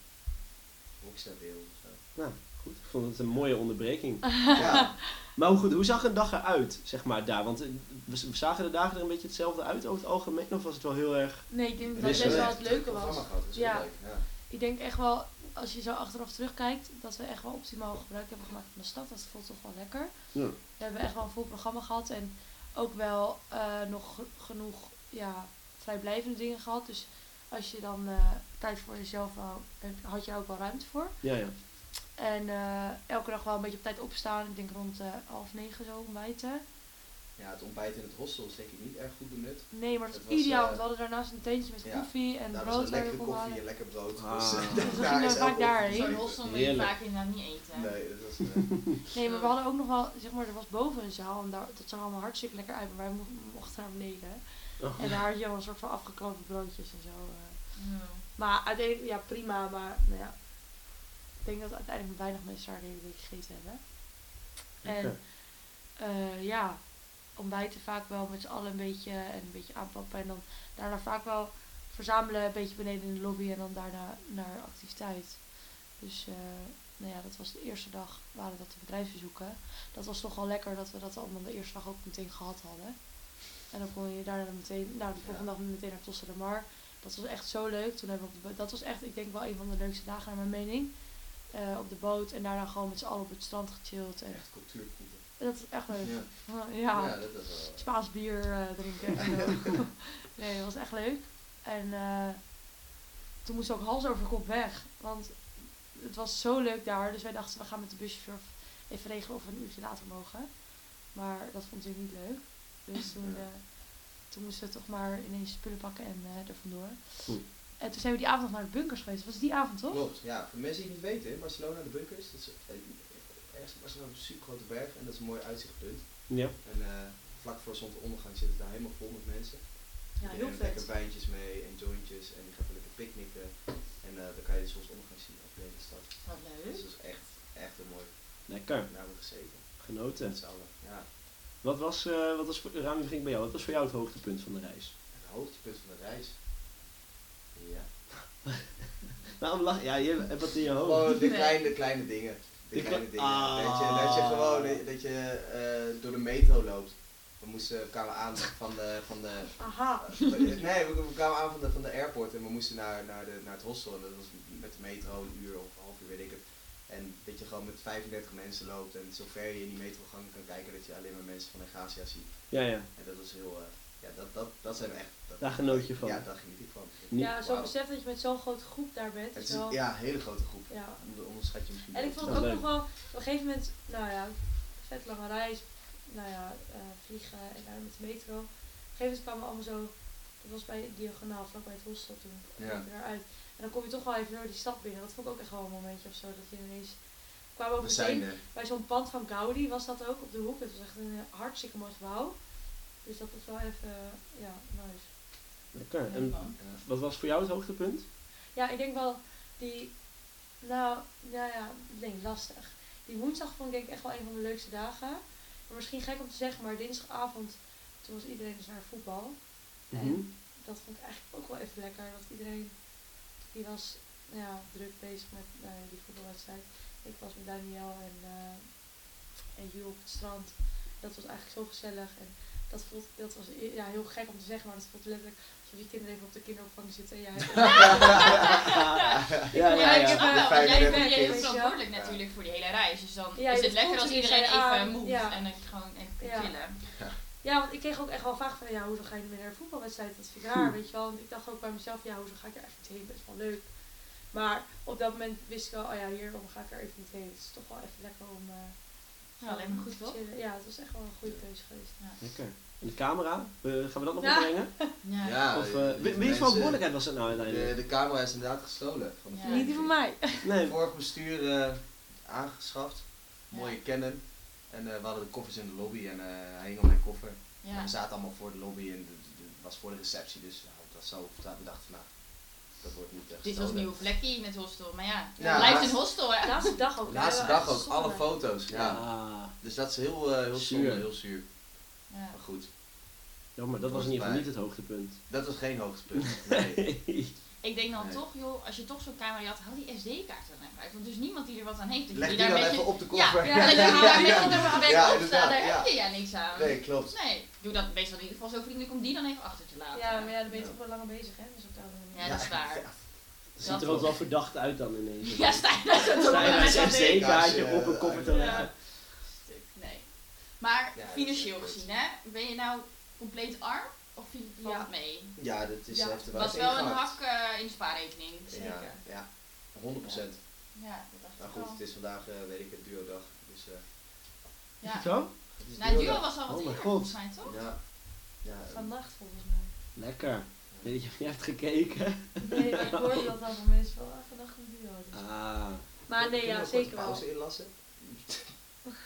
[SPEAKER 3] rockstarwereld of zo.
[SPEAKER 1] Goed, ik vond het een mooie onderbreking.
[SPEAKER 3] ja,
[SPEAKER 1] Maar hoe, goed, hoe zag een dag eruit, zeg maar, daar? Want eh, we, we zagen de dagen er een beetje hetzelfde uit over het algemeen, of was het wel heel erg.
[SPEAKER 4] Nee, ik denk dat
[SPEAKER 1] Wist
[SPEAKER 4] best
[SPEAKER 1] je
[SPEAKER 4] wel
[SPEAKER 1] wel.
[SPEAKER 4] het leuke
[SPEAKER 3] programma
[SPEAKER 4] was.
[SPEAKER 3] gehad, dat is
[SPEAKER 4] Ja.
[SPEAKER 3] wel leuk. Ja.
[SPEAKER 4] Ik denk echt wel, als je zo achteraf terugkijkt, dat we echt wel optimaal gebruik hebben gemaakt van de stad. Dat voelt toch wel lekker.
[SPEAKER 1] Ja.
[SPEAKER 4] We hebben echt wel een vol programma gehad en ook wel eh, nog ge- genoeg ja, vrijblijvende dingen gehad. Dus als je dan eh, tijd voor jezelf wou, heb- had je daar ook wel ruimte voor.
[SPEAKER 1] Ja, ja.
[SPEAKER 4] En eh, elke dag wel een beetje op tijd opstaan. Ik denk rond eh, half negen zo ontbijten.
[SPEAKER 3] Ja, het ontbijt in het hostel is denk ik niet erg goed benut.
[SPEAKER 4] Nee, maar dat
[SPEAKER 3] Het
[SPEAKER 4] was
[SPEAKER 3] was,
[SPEAKER 4] ideaal.
[SPEAKER 3] eh,
[SPEAKER 4] want we hadden daarnaast een tentje met
[SPEAKER 3] ja,
[SPEAKER 4] koffie en
[SPEAKER 3] Daar was
[SPEAKER 4] brood
[SPEAKER 3] een
[SPEAKER 4] waar je
[SPEAKER 3] lekkere
[SPEAKER 4] kon
[SPEAKER 3] koffie
[SPEAKER 4] halen.
[SPEAKER 3] en lekker brood. Dus
[SPEAKER 1] Ah.
[SPEAKER 3] daar
[SPEAKER 1] Dus
[SPEAKER 4] we gingen
[SPEAKER 3] is
[SPEAKER 4] vaak
[SPEAKER 3] elke
[SPEAKER 4] daarheen.
[SPEAKER 2] Zo'n
[SPEAKER 3] ochtend zuipen.
[SPEAKER 2] hostel moet je
[SPEAKER 1] Heerlijk.
[SPEAKER 2] vaak inderdaad nou niet eten.
[SPEAKER 3] Nee, dat was... eh,
[SPEAKER 4] Nee, maar we
[SPEAKER 2] Zo.
[SPEAKER 4] hadden ook nog wel, zeg maar, er was boven een zaal en daar, dat zag allemaal hartstikke lekker uit, maar wij mo- mochten naar beneden.
[SPEAKER 1] Oh.
[SPEAKER 4] En daar had je al een soort van afgekloven broodjes en zo. eh.
[SPEAKER 2] Ja.
[SPEAKER 4] Maar uiteindelijk, ja prima, maar nou ja, ik denk dat uiteindelijk weinig mensen daar de hele week gegeten hebben. En
[SPEAKER 1] Oké.
[SPEAKER 4] eh, ja, ontbijten vaak wel met z'n allen een beetje en een beetje aanpappen en dan daarna vaak wel verzamelen een beetje beneden in de lobby en dan daarna naar activiteit. Dus eh, nou ja, dat was de eerste dag waren dat de bedrijfsbezoeken. Dat was toch wel lekker dat we dat allemaal de eerste dag ook meteen gehad hadden. En dan kon je daarna meteen, nou de volgende dag meteen naar Tosse de Mar. Dat was echt zo leuk. Toen hebben we op de, bo- dat was echt, ik denk wel een van de leukste dagen naar mijn mening. Eh, op de boot en daarna gewoon met z'n allen op het strand gechilled. En
[SPEAKER 3] eh, Echt cultuurproeven.
[SPEAKER 4] dat is echt leuk.
[SPEAKER 3] Ja.
[SPEAKER 4] ja.
[SPEAKER 3] ja, dat was wel...
[SPEAKER 4] Spaans bier eh, drinken. en zo. nee, dat was echt leuk. En eh, toen moest ook hals over kop weg. Want het was zo leuk daar. Dus wij dachten, we gaan met de buschauffeur even regelen of we een uurtje later mogen. Maar dat vond hij niet leuk. Dus toen,
[SPEAKER 3] Ja.
[SPEAKER 4] eh, toen moesten we toch maar ineens spullen pakken en eh er vandoor.
[SPEAKER 1] Oeh.
[SPEAKER 4] En toen zijn we die avond nog naar de bunkers geweest. Was het die avond toch?
[SPEAKER 3] Klopt, ja. Voor mensen die het niet weten, in Barcelona, de bunkers, dat is eh, ergens in Barcelona een super grote berg en dat is een mooi uitzichtpunt.
[SPEAKER 1] Ja.
[SPEAKER 3] En eh, vlak voor zonsondergang zit het daar helemaal vol met mensen.
[SPEAKER 2] Ja,
[SPEAKER 3] Iedereen
[SPEAKER 2] heel
[SPEAKER 3] neemt lekker
[SPEAKER 2] vet.
[SPEAKER 3] wijntjes mee en jointjes en die gaat lekker picknicken. En eh, dan kan je de zonsondergang zien op de hele stad.
[SPEAKER 2] Wat
[SPEAKER 3] Dus
[SPEAKER 2] leuk.
[SPEAKER 3] dat is echt, echt een mooi.
[SPEAKER 1] Lekker.
[SPEAKER 3] Daar hebben we gezeten.
[SPEAKER 1] Genoten.
[SPEAKER 3] Met z'n allen. Ja.
[SPEAKER 1] Wat was, eh wat was voor, Rami, begin ik bij jou. Wat was voor jou het hoogtepunt van de reis?
[SPEAKER 3] Het hoogtepunt van de reis. Ja.
[SPEAKER 1] Waarom Nou, lach ja, je hebt wat in je hoofd.
[SPEAKER 3] Gewoon de
[SPEAKER 2] Nee.
[SPEAKER 3] kleine, kleine dingen. De
[SPEAKER 1] Oh. De
[SPEAKER 3] kleine
[SPEAKER 1] kle-
[SPEAKER 3] dingen.
[SPEAKER 1] Ah.
[SPEAKER 3] Dat, je, dat je gewoon dat je- dat je, eh, door de metro loopt. We moesten, kwamen aan van de, van de
[SPEAKER 4] Aha.
[SPEAKER 3] Nee, we, we kwamen aan van de, van de airport en we moesten naar, naar, de, naar het hostel. En dat was met de metro een uur of een half uur, weet ik het. En dat je gewoon met 35 mensen loopt en zover je in die metrogang kan kijken dat je alleen maar mensen van Egasia ziet.
[SPEAKER 1] Ja, ja.
[SPEAKER 3] En dat was heel, eh, ja, dat, dat, dat zijn echt... Dat,
[SPEAKER 1] Daar genoot je van.
[SPEAKER 3] Ja, daar geniet ik van.
[SPEAKER 1] Niet-
[SPEAKER 4] Ja, zo
[SPEAKER 3] Wauw.
[SPEAKER 4] besef dat je met zo'n grote groep daar bent.
[SPEAKER 3] Het
[SPEAKER 4] is
[SPEAKER 3] is een,
[SPEAKER 4] wel-
[SPEAKER 3] ja, een hele grote groep.
[SPEAKER 4] ja.
[SPEAKER 3] Onder- Onderschat je misschien.
[SPEAKER 4] En ik
[SPEAKER 3] niet.
[SPEAKER 4] vond
[SPEAKER 1] Ja,
[SPEAKER 4] het ook
[SPEAKER 1] leuk.
[SPEAKER 4] nog wel, op een gegeven moment, nou ja, vet lange reis, nou ja, eh, vliegen en daarna met de metro. Op een gegeven moment kwamen we allemaal zo, dat was bij Diagonaal, vlakbij het hostel toen,
[SPEAKER 3] Ja.
[SPEAKER 4] kwamen we daaruit. En dan kom je toch wel even door die stad binnen, dat vond ik ook echt wel een momentje of zo, dat je ineens... kwamen we ook
[SPEAKER 3] We zijn
[SPEAKER 4] meteen
[SPEAKER 3] er.
[SPEAKER 4] bij zo'n pand van Gaudi, was dat ook, op de hoek. Het was echt een eh, hartstikke mooi gebouw. Dus dat was wel even, eh, ja, nice.
[SPEAKER 1] Lekker. En wat was voor jou het hoogtepunt?
[SPEAKER 4] Ja, ik denk wel die. Nou, nou ja, nee, lastig. Die woensdag vond ik denk ik echt wel een van de leukste dagen. Maar misschien gek om te zeggen, maar dinsdagavond toen was iedereen dus naar voetbal.
[SPEAKER 1] Mhm.
[SPEAKER 4] Dat vond ik eigenlijk ook wel even lekker. Dat iedereen die was nou ja, druk bezig met nou ja, die voetbalwedstrijd. Ik was met Daniel en, eh en Jules op het strand. Dat was eigenlijk zo gezellig. En dat voelt, dat was i- ja, heel gek om te zeggen, maar dat voelt letterlijk alsof je kinderen even op de kinderopvang zitten en jij
[SPEAKER 1] Ja,
[SPEAKER 2] Ja,
[SPEAKER 1] ja,
[SPEAKER 2] ik
[SPEAKER 1] ja.
[SPEAKER 2] snap wel, want
[SPEAKER 3] Vijf
[SPEAKER 2] jij
[SPEAKER 3] minuten
[SPEAKER 2] bent
[SPEAKER 3] kids.
[SPEAKER 2] heel verantwoordelijk
[SPEAKER 3] Ja.
[SPEAKER 2] natuurlijk voor die hele reis. Dus dan
[SPEAKER 4] Ja,
[SPEAKER 2] is
[SPEAKER 4] dat
[SPEAKER 2] het lekker
[SPEAKER 4] voelt
[SPEAKER 2] als
[SPEAKER 4] iedereen
[SPEAKER 2] iedereen
[SPEAKER 4] aan.
[SPEAKER 2] even moe
[SPEAKER 4] Ja.
[SPEAKER 2] en dat je gewoon even kunt
[SPEAKER 4] Ja.
[SPEAKER 2] chillen.
[SPEAKER 4] Ja, want ik kreeg ook echt wel vaak van, ja, hoezo ga je niet meer naar een voetbalwedstrijd? Dat vind ik
[SPEAKER 3] Hm.
[SPEAKER 4] raar, weet je wel. Want ik dacht ook bij mezelf, ja, hoezo ga ik er echt niet heen? Best wel leuk. Maar op dat moment wist ik wel, oh ja, hierom ga ik er even niet heen. Het is toch wel even lekker om... eh
[SPEAKER 2] Ja, alleen maar goed
[SPEAKER 4] te
[SPEAKER 2] toch?
[SPEAKER 4] chillen. Ja, het was echt wel een goede keuze geweest.
[SPEAKER 1] Lekker. En de camera, Eh, gaan we dat nog
[SPEAKER 4] Ja.
[SPEAKER 1] opbrengen?
[SPEAKER 3] Ja,
[SPEAKER 1] Of, eh,
[SPEAKER 3] de-
[SPEAKER 1] wie-
[SPEAKER 3] de
[SPEAKER 1] wie
[SPEAKER 3] mensen-
[SPEAKER 1] verantwoordelijkheid was het nou
[SPEAKER 3] De,
[SPEAKER 1] uiteindelijk?
[SPEAKER 3] de camera is inderdaad gestolen. Van de
[SPEAKER 2] Ja.
[SPEAKER 3] vereniging.
[SPEAKER 2] Niet die
[SPEAKER 4] mij.
[SPEAKER 1] Nee.
[SPEAKER 3] Vorig bestuur eh, aangeschaft.
[SPEAKER 2] Ja.
[SPEAKER 3] Mooie Canon. En eh, we hadden de koffers in de lobby en eh, hij hing op mijn koffer.
[SPEAKER 2] Ja.
[SPEAKER 3] We zaten allemaal voor de lobby en het was voor de receptie, dus nou, dat zou we dachten, nou, dat wordt niet echt.
[SPEAKER 2] Dit was een nieuwe plekje in het hostel. Maar ja,
[SPEAKER 3] Ja,
[SPEAKER 2] het blijft
[SPEAKER 3] laatst-
[SPEAKER 2] een hostel hè.
[SPEAKER 4] Laatste dag ook. hè.
[SPEAKER 3] Laatste
[SPEAKER 4] We hebben
[SPEAKER 3] dag
[SPEAKER 4] echt
[SPEAKER 3] ook, alle
[SPEAKER 4] gezonnen.
[SPEAKER 3] foto's. Ja.
[SPEAKER 1] Ja.
[SPEAKER 3] Dus dat is heel, eh, heel
[SPEAKER 1] Zuur.
[SPEAKER 3] zonde, heel zuur.
[SPEAKER 2] Ja.
[SPEAKER 3] Maar goed,
[SPEAKER 1] Jammer, dat was in ieder geval niet het hoogtepunt.
[SPEAKER 3] dat was geen hoogtepunt. Nee.
[SPEAKER 2] Ik denk dan
[SPEAKER 3] Nee.
[SPEAKER 2] toch, joh, als je toch zo'n camera had, hou die SD-kaart dan even uit. Want er is niemand die er wat aan heeft. Dat
[SPEAKER 3] Leg
[SPEAKER 2] je
[SPEAKER 3] die dan
[SPEAKER 2] daar met
[SPEAKER 3] even
[SPEAKER 2] je...
[SPEAKER 3] op de koffer.
[SPEAKER 2] Ja, dat je daar met je
[SPEAKER 3] Ja,
[SPEAKER 2] gebrek
[SPEAKER 3] ja,
[SPEAKER 2] op staat, daar
[SPEAKER 3] inderdaad,
[SPEAKER 2] heb je ja niks aan.
[SPEAKER 3] Nee, klopt.
[SPEAKER 2] Nee, doe dat meestal in ieder geval zo vriendelijk om die dan even achter te laten.
[SPEAKER 4] Ja, maar ja, dan ben je
[SPEAKER 3] Ja.
[SPEAKER 4] toch wel langer bezig, hè? Dus op dat moment.
[SPEAKER 2] Ja, dat is waar.
[SPEAKER 1] Het ziet er ook wel verdacht uit dan ineens.
[SPEAKER 2] Ja, Stijn dat is ook
[SPEAKER 1] Sta je
[SPEAKER 2] wel
[SPEAKER 1] met
[SPEAKER 2] met
[SPEAKER 1] zijn
[SPEAKER 2] dat ding.
[SPEAKER 1] FC-kaartje op een koffer te
[SPEAKER 2] Ja.
[SPEAKER 1] leggen.
[SPEAKER 2] Nee. Maar
[SPEAKER 3] Ja, dat is
[SPEAKER 2] financieel
[SPEAKER 3] echt goed.
[SPEAKER 2] gezien, hè? Ben je nou compleet arm? Of viel valt
[SPEAKER 4] Ja.
[SPEAKER 2] het mee?
[SPEAKER 3] Ja, dat is eh,
[SPEAKER 4] Ja.
[SPEAKER 3] echt
[SPEAKER 2] Het
[SPEAKER 3] waar
[SPEAKER 2] was
[SPEAKER 3] het
[SPEAKER 2] wel een
[SPEAKER 3] ingehakt.
[SPEAKER 2] hak eh, in de spaarrekening.
[SPEAKER 3] Ja,
[SPEAKER 2] Zeker. Oh.
[SPEAKER 3] ja, 100 procent.
[SPEAKER 2] Ja, dat dacht
[SPEAKER 3] Nou
[SPEAKER 2] ik
[SPEAKER 3] goed,
[SPEAKER 2] al.
[SPEAKER 3] het is vandaag, eh, weet ik het, duo-dag. Dus, eh
[SPEAKER 2] Ja.
[SPEAKER 1] Zo?
[SPEAKER 3] het is
[SPEAKER 2] Nou, Duo
[SPEAKER 3] duo-dag.
[SPEAKER 2] was al wat
[SPEAKER 1] Oh mijn
[SPEAKER 2] eerder,
[SPEAKER 1] god.
[SPEAKER 2] volgens mij, toch?
[SPEAKER 3] Ja. Ja, eh,
[SPEAKER 4] Vannacht volgens mij.
[SPEAKER 1] Lekker. Weet je, je hebt gekeken.
[SPEAKER 4] Nee, ik hoorde dat dan van mensen van, ah, vannacht een duo.
[SPEAKER 1] Ah.
[SPEAKER 4] Maar nee,
[SPEAKER 3] kunnen we
[SPEAKER 4] ja,
[SPEAKER 3] een
[SPEAKER 4] zeker
[SPEAKER 3] korte
[SPEAKER 4] wel.
[SPEAKER 3] pauze inlassen?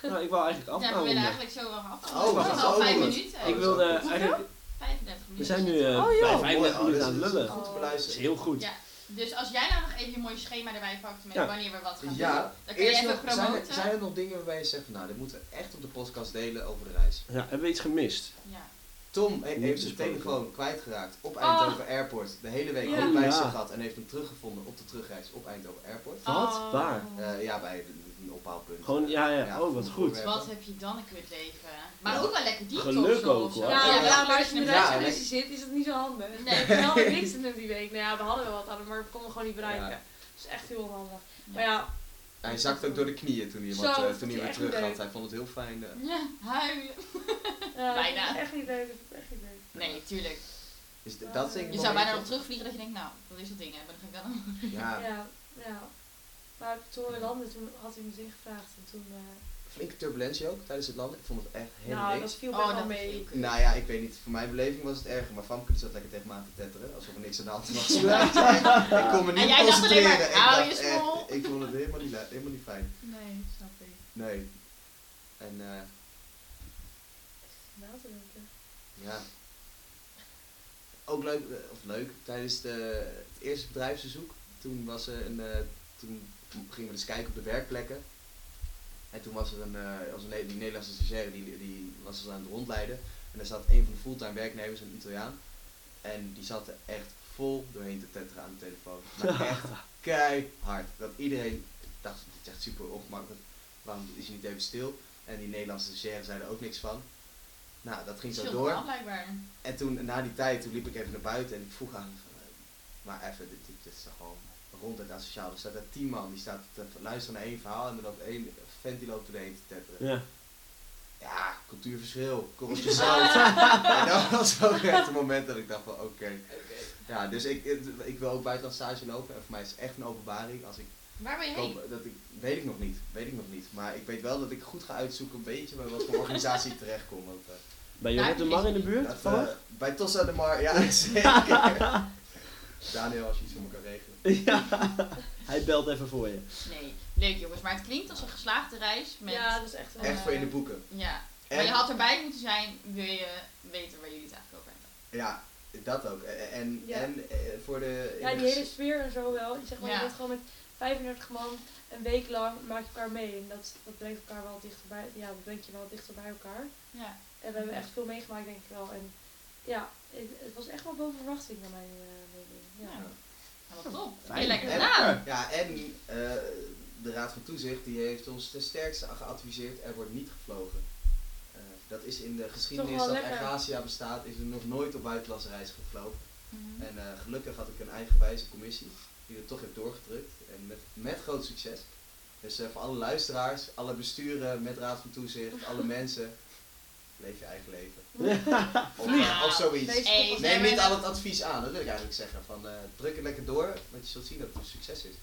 [SPEAKER 1] Nou, ik wou eigenlijk
[SPEAKER 2] Ja, we willen
[SPEAKER 1] afronden.
[SPEAKER 2] eigenlijk zo wel af.
[SPEAKER 3] Oh,
[SPEAKER 2] het was al
[SPEAKER 3] oh,
[SPEAKER 2] vijf
[SPEAKER 3] goed.
[SPEAKER 2] minuten.
[SPEAKER 1] Ik wilde eigenlijk...
[SPEAKER 2] 35 minuten.
[SPEAKER 1] We zijn nu
[SPEAKER 2] zitten
[SPEAKER 1] eh,
[SPEAKER 4] Oh, joh.
[SPEAKER 1] bij
[SPEAKER 3] Mooi, oh,
[SPEAKER 1] 35 minuten
[SPEAKER 3] dit
[SPEAKER 1] aan
[SPEAKER 3] is-
[SPEAKER 1] het
[SPEAKER 3] dit is
[SPEAKER 1] lullen.
[SPEAKER 3] Goed te
[SPEAKER 1] Dat is
[SPEAKER 3] beluisteren.
[SPEAKER 1] heel goed.
[SPEAKER 2] Ja. Dus als jij nou nog even je mooi schema erbij pakt met
[SPEAKER 1] Ja.
[SPEAKER 2] wanneer we wat gaan doen,
[SPEAKER 3] Ja,
[SPEAKER 2] dan kun je
[SPEAKER 3] eerst
[SPEAKER 2] even
[SPEAKER 3] nog, zijn,
[SPEAKER 2] promoten.
[SPEAKER 3] er, zijn er nog dingen waarbij je zegt, van, nou, dit moeten we echt op de podcast delen over de reis.
[SPEAKER 1] Ja, hebben we iets gemist?
[SPEAKER 2] Ja.
[SPEAKER 3] Tom he-
[SPEAKER 1] Niet
[SPEAKER 3] heeft zijn
[SPEAKER 1] besproken.
[SPEAKER 3] telefoon kwijtgeraakt op
[SPEAKER 4] Ah.
[SPEAKER 3] Eindhoven Airport. De hele week
[SPEAKER 4] Ja.
[SPEAKER 3] ook bij zich
[SPEAKER 1] Ja.
[SPEAKER 3] gehad en heeft hem teruggevonden op de terugreis op Eindhoven Airport.
[SPEAKER 1] Wat?
[SPEAKER 4] Oh.
[SPEAKER 1] Waar?
[SPEAKER 3] Eh, ja, bij een ophaalpunt.
[SPEAKER 1] Gewoon, ja, ja. Oh, wat goed.
[SPEAKER 3] Ja.
[SPEAKER 2] Dus Wat heb je dan een kut leven? Maar
[SPEAKER 3] Ja.
[SPEAKER 2] ook wel lekker diep
[SPEAKER 1] Geluk
[SPEAKER 2] toch zo,
[SPEAKER 1] ook,
[SPEAKER 2] of zo.
[SPEAKER 1] hoor.
[SPEAKER 4] Ja, ja, maar als je in de
[SPEAKER 3] Ja,
[SPEAKER 2] bedrijf-
[SPEAKER 4] reiscommissie zit, is dat niet zo handig.
[SPEAKER 2] Nee.
[SPEAKER 4] Nee, ik had helemaal niks in die week. Nou ja, we hadden wel wat aan, maar we konden gewoon niet bereiken.
[SPEAKER 3] Ja.
[SPEAKER 4] Dat is echt heel onhandig.
[SPEAKER 2] Ja.
[SPEAKER 4] Maar ja,
[SPEAKER 3] Hij zakte ook door de knieën toen hij, wat,
[SPEAKER 4] Zo,
[SPEAKER 3] eh,
[SPEAKER 4] dat
[SPEAKER 3] toen hij
[SPEAKER 4] is
[SPEAKER 3] weer
[SPEAKER 4] echt
[SPEAKER 3] terug
[SPEAKER 4] leuk.
[SPEAKER 3] had. Hij vond het heel fijn. eh.
[SPEAKER 2] Ja, huilen.
[SPEAKER 4] eh,
[SPEAKER 2] Bijna.
[SPEAKER 4] dat is Echt niet leuk, dat is echt niet leuk.
[SPEAKER 2] Nee, tuurlijk.
[SPEAKER 3] Dus d- dat is denk ik
[SPEAKER 2] Je
[SPEAKER 3] wel
[SPEAKER 2] zou bijna
[SPEAKER 3] een
[SPEAKER 2] nog terugvliegen dat je denkt, nou, dat is dat ding hebben, dan ga ik dan nog.
[SPEAKER 3] beetje- Ja,
[SPEAKER 4] Ja, ja. Maar toen we landden, toen had hij ons ingevraagd en toen... eh,
[SPEAKER 3] flinke turbulentie ook tijdens het landen. Ik vond het echt helemaal
[SPEAKER 4] nou,
[SPEAKER 3] niks.
[SPEAKER 4] dat viel best wel
[SPEAKER 2] dat is heel
[SPEAKER 4] mee.
[SPEAKER 2] kut.
[SPEAKER 3] Nou ja, ik weet niet. Voor mijn beleving was het erger. Maar Famke die zat lekker tegen me aan te tetteren. Alsof er niks aan de hand was. ik kon me niet
[SPEAKER 2] En jij dacht alleen
[SPEAKER 3] concentreren.
[SPEAKER 2] maar,
[SPEAKER 3] Ik
[SPEAKER 2] hou je
[SPEAKER 3] dacht
[SPEAKER 2] smoel.
[SPEAKER 3] echt, Ik vond het helemaal niet, le- helemaal niet fijn.
[SPEAKER 2] Nee, snap ik.
[SPEAKER 3] Nee. En eh,
[SPEAKER 4] Na te denken.
[SPEAKER 3] ja. Ook leuk, eh, of leuk, tijdens de, het eerste bedrijfsbezoek. Toen, was er een, eh, toen gingen we dus kijken op de werkplekken. En toen was er een, eh, was een Ne- die Nederlandse stagiaire die, die was ons aan het rondleiden. En daar zat een van de fulltime werknemers, een Italiaan. En die zat er echt vol doorheen te tetteren aan de telefoon. Maar echt keihard. Dat iedereen dacht, dit is echt super ongemakkelijk. Waarom is hij niet even stil? En die Nederlandse stagiaire zei er ook niks van. Nou, dat ging zo
[SPEAKER 2] Scheelt
[SPEAKER 3] door.
[SPEAKER 2] wel blijkbaar.
[SPEAKER 3] En toen, na die tijd, toen liep ik even naar buiten en ik vroeg aan, van, eh, maar even, dit, dit, dit is toch gewoon ronduit asociaal. Er staat daar tien man, die staat te luisteren naar één verhaal en er loopt één vent die loopt erheen te tetteren.
[SPEAKER 1] Ja.
[SPEAKER 3] Ja, cultuurverschil, kom op je zout. en dat was ook echt het moment dat ik dacht van, oké. Ja, dus ik, het- ik wil ook buitenland stage lopen en voor mij is het echt een openbaring als ik
[SPEAKER 2] Waar ben je heen?
[SPEAKER 3] koop, dat ik, weet ik nog niet, weet ik nog niet. Maar ik weet wel dat ik goed ga uitzoeken een beetje bij wat voor organisatie ik terechtkom. Want, eh,
[SPEAKER 1] Bij Jorrit
[SPEAKER 4] Nou,
[SPEAKER 1] de Mar in de buurt?
[SPEAKER 3] dat,
[SPEAKER 1] toevallig?
[SPEAKER 3] eh, bij Tossa de Mar, ja zeker. Daniel, als je iets voor me kan regelen.
[SPEAKER 1] Ja, eh, hij belt even voor je.
[SPEAKER 2] Nee, leuk jongens, maar het klinkt als een geslaagde reis met... eh,
[SPEAKER 4] Ja, dat is echt wel...
[SPEAKER 3] Echt voor in de boeken.
[SPEAKER 2] Ja. Maar
[SPEAKER 3] En-
[SPEAKER 2] je had erbij moeten zijn, wil je weten waar jullie het eigenlijk over hebben.
[SPEAKER 3] Ja, dat ook. En, en,
[SPEAKER 4] Ja.
[SPEAKER 3] en, eh, voor de...
[SPEAKER 4] Ja, dus- die hele sfeer en zo wel. Zeg maar,
[SPEAKER 2] Ja.
[SPEAKER 4] je bent gewoon met 35 man een week lang maak je elkaar mee. En dat, dat brengt elkaar wel dichter bij, ja, dat brengt je wel dichter bij elkaar.
[SPEAKER 2] Ja.
[SPEAKER 4] En we hebben echt veel meegemaakt, denk ik wel. En ja, het, het was echt wel boven verwachting naar mijn eh, mening. Ja.
[SPEAKER 2] Ja. Nou, wat top.
[SPEAKER 1] Fijn.
[SPEAKER 2] Heel lekker
[SPEAKER 3] En-
[SPEAKER 2] gedaan.
[SPEAKER 3] Ja, en eh, de Raad van Toezicht die heeft ons ten sterkste geadviseerd, er wordt niet gevlogen. Eh, dat is in de geschiedenis
[SPEAKER 4] wel
[SPEAKER 3] dat
[SPEAKER 4] lekker.
[SPEAKER 3] Acacia bestaat, is er nog nooit op buitenlandse reis gevlogen.
[SPEAKER 2] Mhm.
[SPEAKER 3] En eh, gelukkig had ik een eigenwijze commissie die er toch heeft doorgedrukt. En met, met groot succes. Dus eh, voor alle luisteraars, alle besturen met Raad van Toezicht, alle mensen, leef je eigen leven. Of, eh,
[SPEAKER 2] Vlieg.
[SPEAKER 3] of zoiets.
[SPEAKER 4] Ah, Wees
[SPEAKER 2] Hey,
[SPEAKER 4] koppig.
[SPEAKER 3] Neem
[SPEAKER 2] maar
[SPEAKER 3] niet
[SPEAKER 2] dat-
[SPEAKER 3] al het advies aan, dat wil ik eigenlijk zeggen. Van, eh, druk het lekker door, want je zult zien dat het een succes is.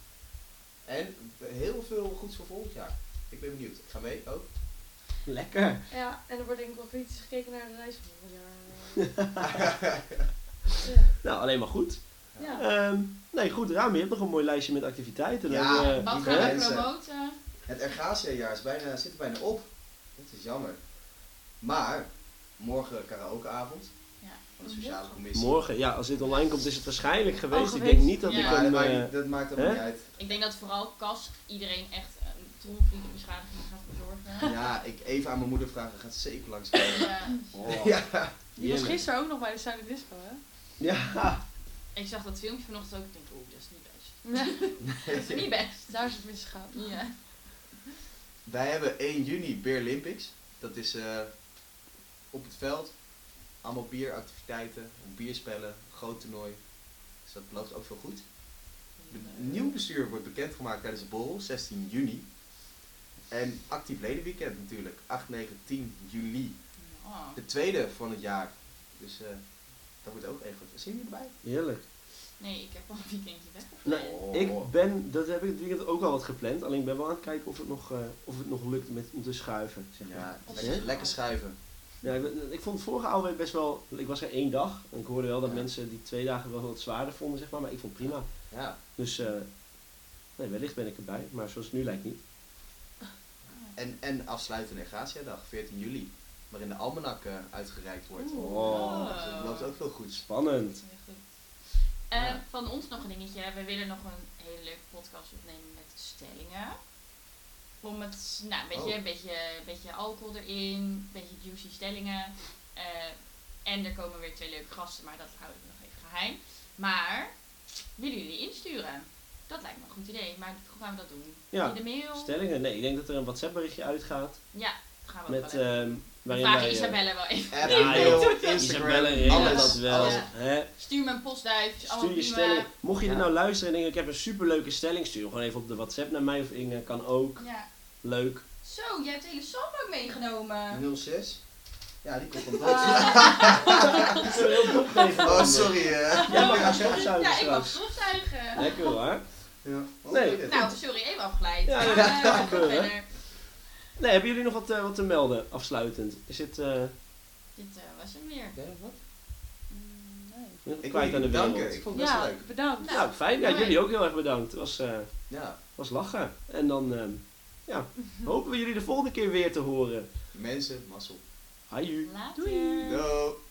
[SPEAKER 3] En heel veel goeds voor volgend jaar. Ik ben benieuwd. Ik ga mee ook.
[SPEAKER 1] Lekker.
[SPEAKER 4] ja, en er wordt denk ik wel kritisch gekeken naar de reis van volgend jaar.
[SPEAKER 1] Nou, alleen maar goed.
[SPEAKER 4] ja. ja.
[SPEAKER 1] Ehm, nee, goed, Rami, je hebt nog een mooi lijstje met activiteiten.
[SPEAKER 3] Ja,
[SPEAKER 1] Dan, eh,
[SPEAKER 2] Wat
[SPEAKER 3] die
[SPEAKER 2] gaan we
[SPEAKER 3] mensen.
[SPEAKER 2] promoten?
[SPEAKER 3] Het Ergasia-jaar is bijna, zit er bijna op. Dat is jammer. Maar, morgen karaokeavond.
[SPEAKER 2] Ja.
[SPEAKER 3] Van de sociale commissie.
[SPEAKER 1] Morgen, ja, als dit online komt, is het waarschijnlijk geweest. Ik
[SPEAKER 4] Oh, geweest.
[SPEAKER 1] denk niet dat
[SPEAKER 2] Ja.
[SPEAKER 1] ik
[SPEAKER 3] Maar dat,
[SPEAKER 1] hem.
[SPEAKER 3] maakt,
[SPEAKER 1] eh,
[SPEAKER 3] niet- dat maakt allemaal
[SPEAKER 1] hè?
[SPEAKER 3] niet uit.
[SPEAKER 2] Ik denk dat vooral Cas iedereen echt een tromvliegende beschadiging gaat bezorgen.
[SPEAKER 3] Ja, ik even aan mijn moeder vragen. Gaat zeker langskomen.
[SPEAKER 2] Ja.
[SPEAKER 1] oh,
[SPEAKER 3] Ja.
[SPEAKER 4] Die was
[SPEAKER 1] heerlijk.
[SPEAKER 4] gisteren ook nog bij de Silent Disco, hè?
[SPEAKER 1] Ja,
[SPEAKER 2] eh, Ik zag dat filmpje vanochtend ook en ik denk, oeh, dat is niet best. Dat is
[SPEAKER 3] Nee.
[SPEAKER 2] niet best.
[SPEAKER 4] Daar is het misgegaan.
[SPEAKER 2] Ja.
[SPEAKER 3] Wij hebben 1 juni Beer Olympics. Dat is eh, op het veld. Allemaal bieractiviteiten, bierspellen, groot toernooi. Dus dat belooft ook veel goed. Een nieuw bestuur wordt bekendgemaakt tijdens de borrel, 16 juni. En actief ledenweekend natuurlijk, 8, 9, 10 juli.
[SPEAKER 2] Ja.
[SPEAKER 3] De tweede van het jaar. Dus eh dat wordt ook even goed. Zien jullie erbij?
[SPEAKER 1] Heerlijk.
[SPEAKER 2] Nee, ik heb al een weekendje weg.
[SPEAKER 1] Nou,
[SPEAKER 3] Oh.
[SPEAKER 1] Ik ben, dat heb ik het weekend ook al wat gepland. Alleen ik ben wel aan het kijken of het nog, eh, of het nog lukt met, om te schuiven. Zeg maar.
[SPEAKER 3] Ja,
[SPEAKER 2] Of
[SPEAKER 3] lekker,
[SPEAKER 2] zo.
[SPEAKER 3] lekker schuiven.
[SPEAKER 1] Ja, ik, ben- ik vond het vorige alweer best wel. Ik was er één dag. En ik hoorde wel dat
[SPEAKER 3] Ja.
[SPEAKER 1] mensen die twee dagen wel wat zwaarder vonden, zeg maar. Maar ik vond het prima.
[SPEAKER 3] Ja,
[SPEAKER 1] Dus eh, nee, wellicht ben ik erbij. Maar zoals het nu lijkt niet.
[SPEAKER 3] en, en afsluitende Gracia-dag, 14 juli. Waarin de almanak eh, uitgereikt wordt.
[SPEAKER 1] Oeh.
[SPEAKER 3] Dus dat loopt ook veel goeds.
[SPEAKER 1] Spannend.
[SPEAKER 2] Heel goed. Eh,
[SPEAKER 3] Ja.
[SPEAKER 2] Van ons nog een dingetje. We willen nog een hele leuke podcast opnemen met stellingen. Om het, nou, een beetje,
[SPEAKER 3] Oh.
[SPEAKER 2] een beetje, een beetje alcohol erin, een beetje juicy stellingen. Eh, en er komen weer twee leuke gasten, maar dat houden we nog even geheim. Maar, willen jullie insturen? Dat lijkt me een goed idee, maar hoe gaan we dat doen?
[SPEAKER 1] Ja.
[SPEAKER 2] In de mail?
[SPEAKER 1] Stellingen? Nee, ik denk dat er een WhatsApp berichtje uitgaat.
[SPEAKER 2] ja, dat gaan we ook
[SPEAKER 1] Met,
[SPEAKER 2] wel even.
[SPEAKER 1] ehm
[SPEAKER 2] We
[SPEAKER 1] waarin
[SPEAKER 2] vragen
[SPEAKER 1] wij, eh,
[SPEAKER 2] Isabelle wel even.
[SPEAKER 3] App,
[SPEAKER 1] Ja,
[SPEAKER 3] mail,
[SPEAKER 1] joh.
[SPEAKER 3] Instagram,
[SPEAKER 1] Isabelle regelt
[SPEAKER 3] alles.
[SPEAKER 1] dat wel.
[SPEAKER 3] alles.
[SPEAKER 2] Ja.
[SPEAKER 1] Hè?
[SPEAKER 2] Stuur me een postduif, is allemaal
[SPEAKER 1] Stuur je
[SPEAKER 2] prima.
[SPEAKER 1] stelling. Mocht je dit
[SPEAKER 3] Ja.
[SPEAKER 1] nou luisteren en denken, ik heb een superleuke stelling, stuur hem gewoon even op de WhatsApp naar mij of Inge. Kan ook.
[SPEAKER 2] Ja.
[SPEAKER 1] Leuk.
[SPEAKER 2] Zo, jij hebt de hele sap ook meegenomen.
[SPEAKER 3] 06? Oh, eh. Ja, die komt van
[SPEAKER 4] Ah.
[SPEAKER 3] Dort.
[SPEAKER 1] Dat is wel heel dom tegenwoordig.
[SPEAKER 3] Oh, sorry. eh.
[SPEAKER 1] Jij mag gaan stofzuigen
[SPEAKER 2] Ja, ik mag
[SPEAKER 1] straks.
[SPEAKER 2] stofzuigen.
[SPEAKER 1] Lekker hoor.
[SPEAKER 3] Ja. Oh,
[SPEAKER 1] Nee.
[SPEAKER 3] weet het.
[SPEAKER 2] Nou, sorry, even afgeleid.
[SPEAKER 1] Ja,
[SPEAKER 2] Maar,
[SPEAKER 1] dat kan
[SPEAKER 2] eh, we gaan
[SPEAKER 1] gebeuren.
[SPEAKER 2] verder.
[SPEAKER 1] Nee, hebben jullie nog wat, eh, wat te melden afsluitend? Is dit eh,
[SPEAKER 2] Dit eh, was hem weer.
[SPEAKER 3] Ja, wat?
[SPEAKER 4] Mm, nee.
[SPEAKER 3] Ik wil
[SPEAKER 1] kwijt aan de
[SPEAKER 3] jullie
[SPEAKER 1] wereld?
[SPEAKER 3] bedanken. Ik vond het best
[SPEAKER 4] Ja,
[SPEAKER 3] leuk.
[SPEAKER 4] bedankt.
[SPEAKER 1] Nou, fijn. Ja,
[SPEAKER 2] mooi.
[SPEAKER 1] jullie ook heel erg bedankt. Het was, eh,
[SPEAKER 3] Ja.
[SPEAKER 1] was lachen. En dan ehm, ja, hopen we jullie de volgende keer weer te horen.
[SPEAKER 3] Mensen, mazzel.
[SPEAKER 1] Haju.
[SPEAKER 2] Later.
[SPEAKER 4] Doei.
[SPEAKER 3] Doei.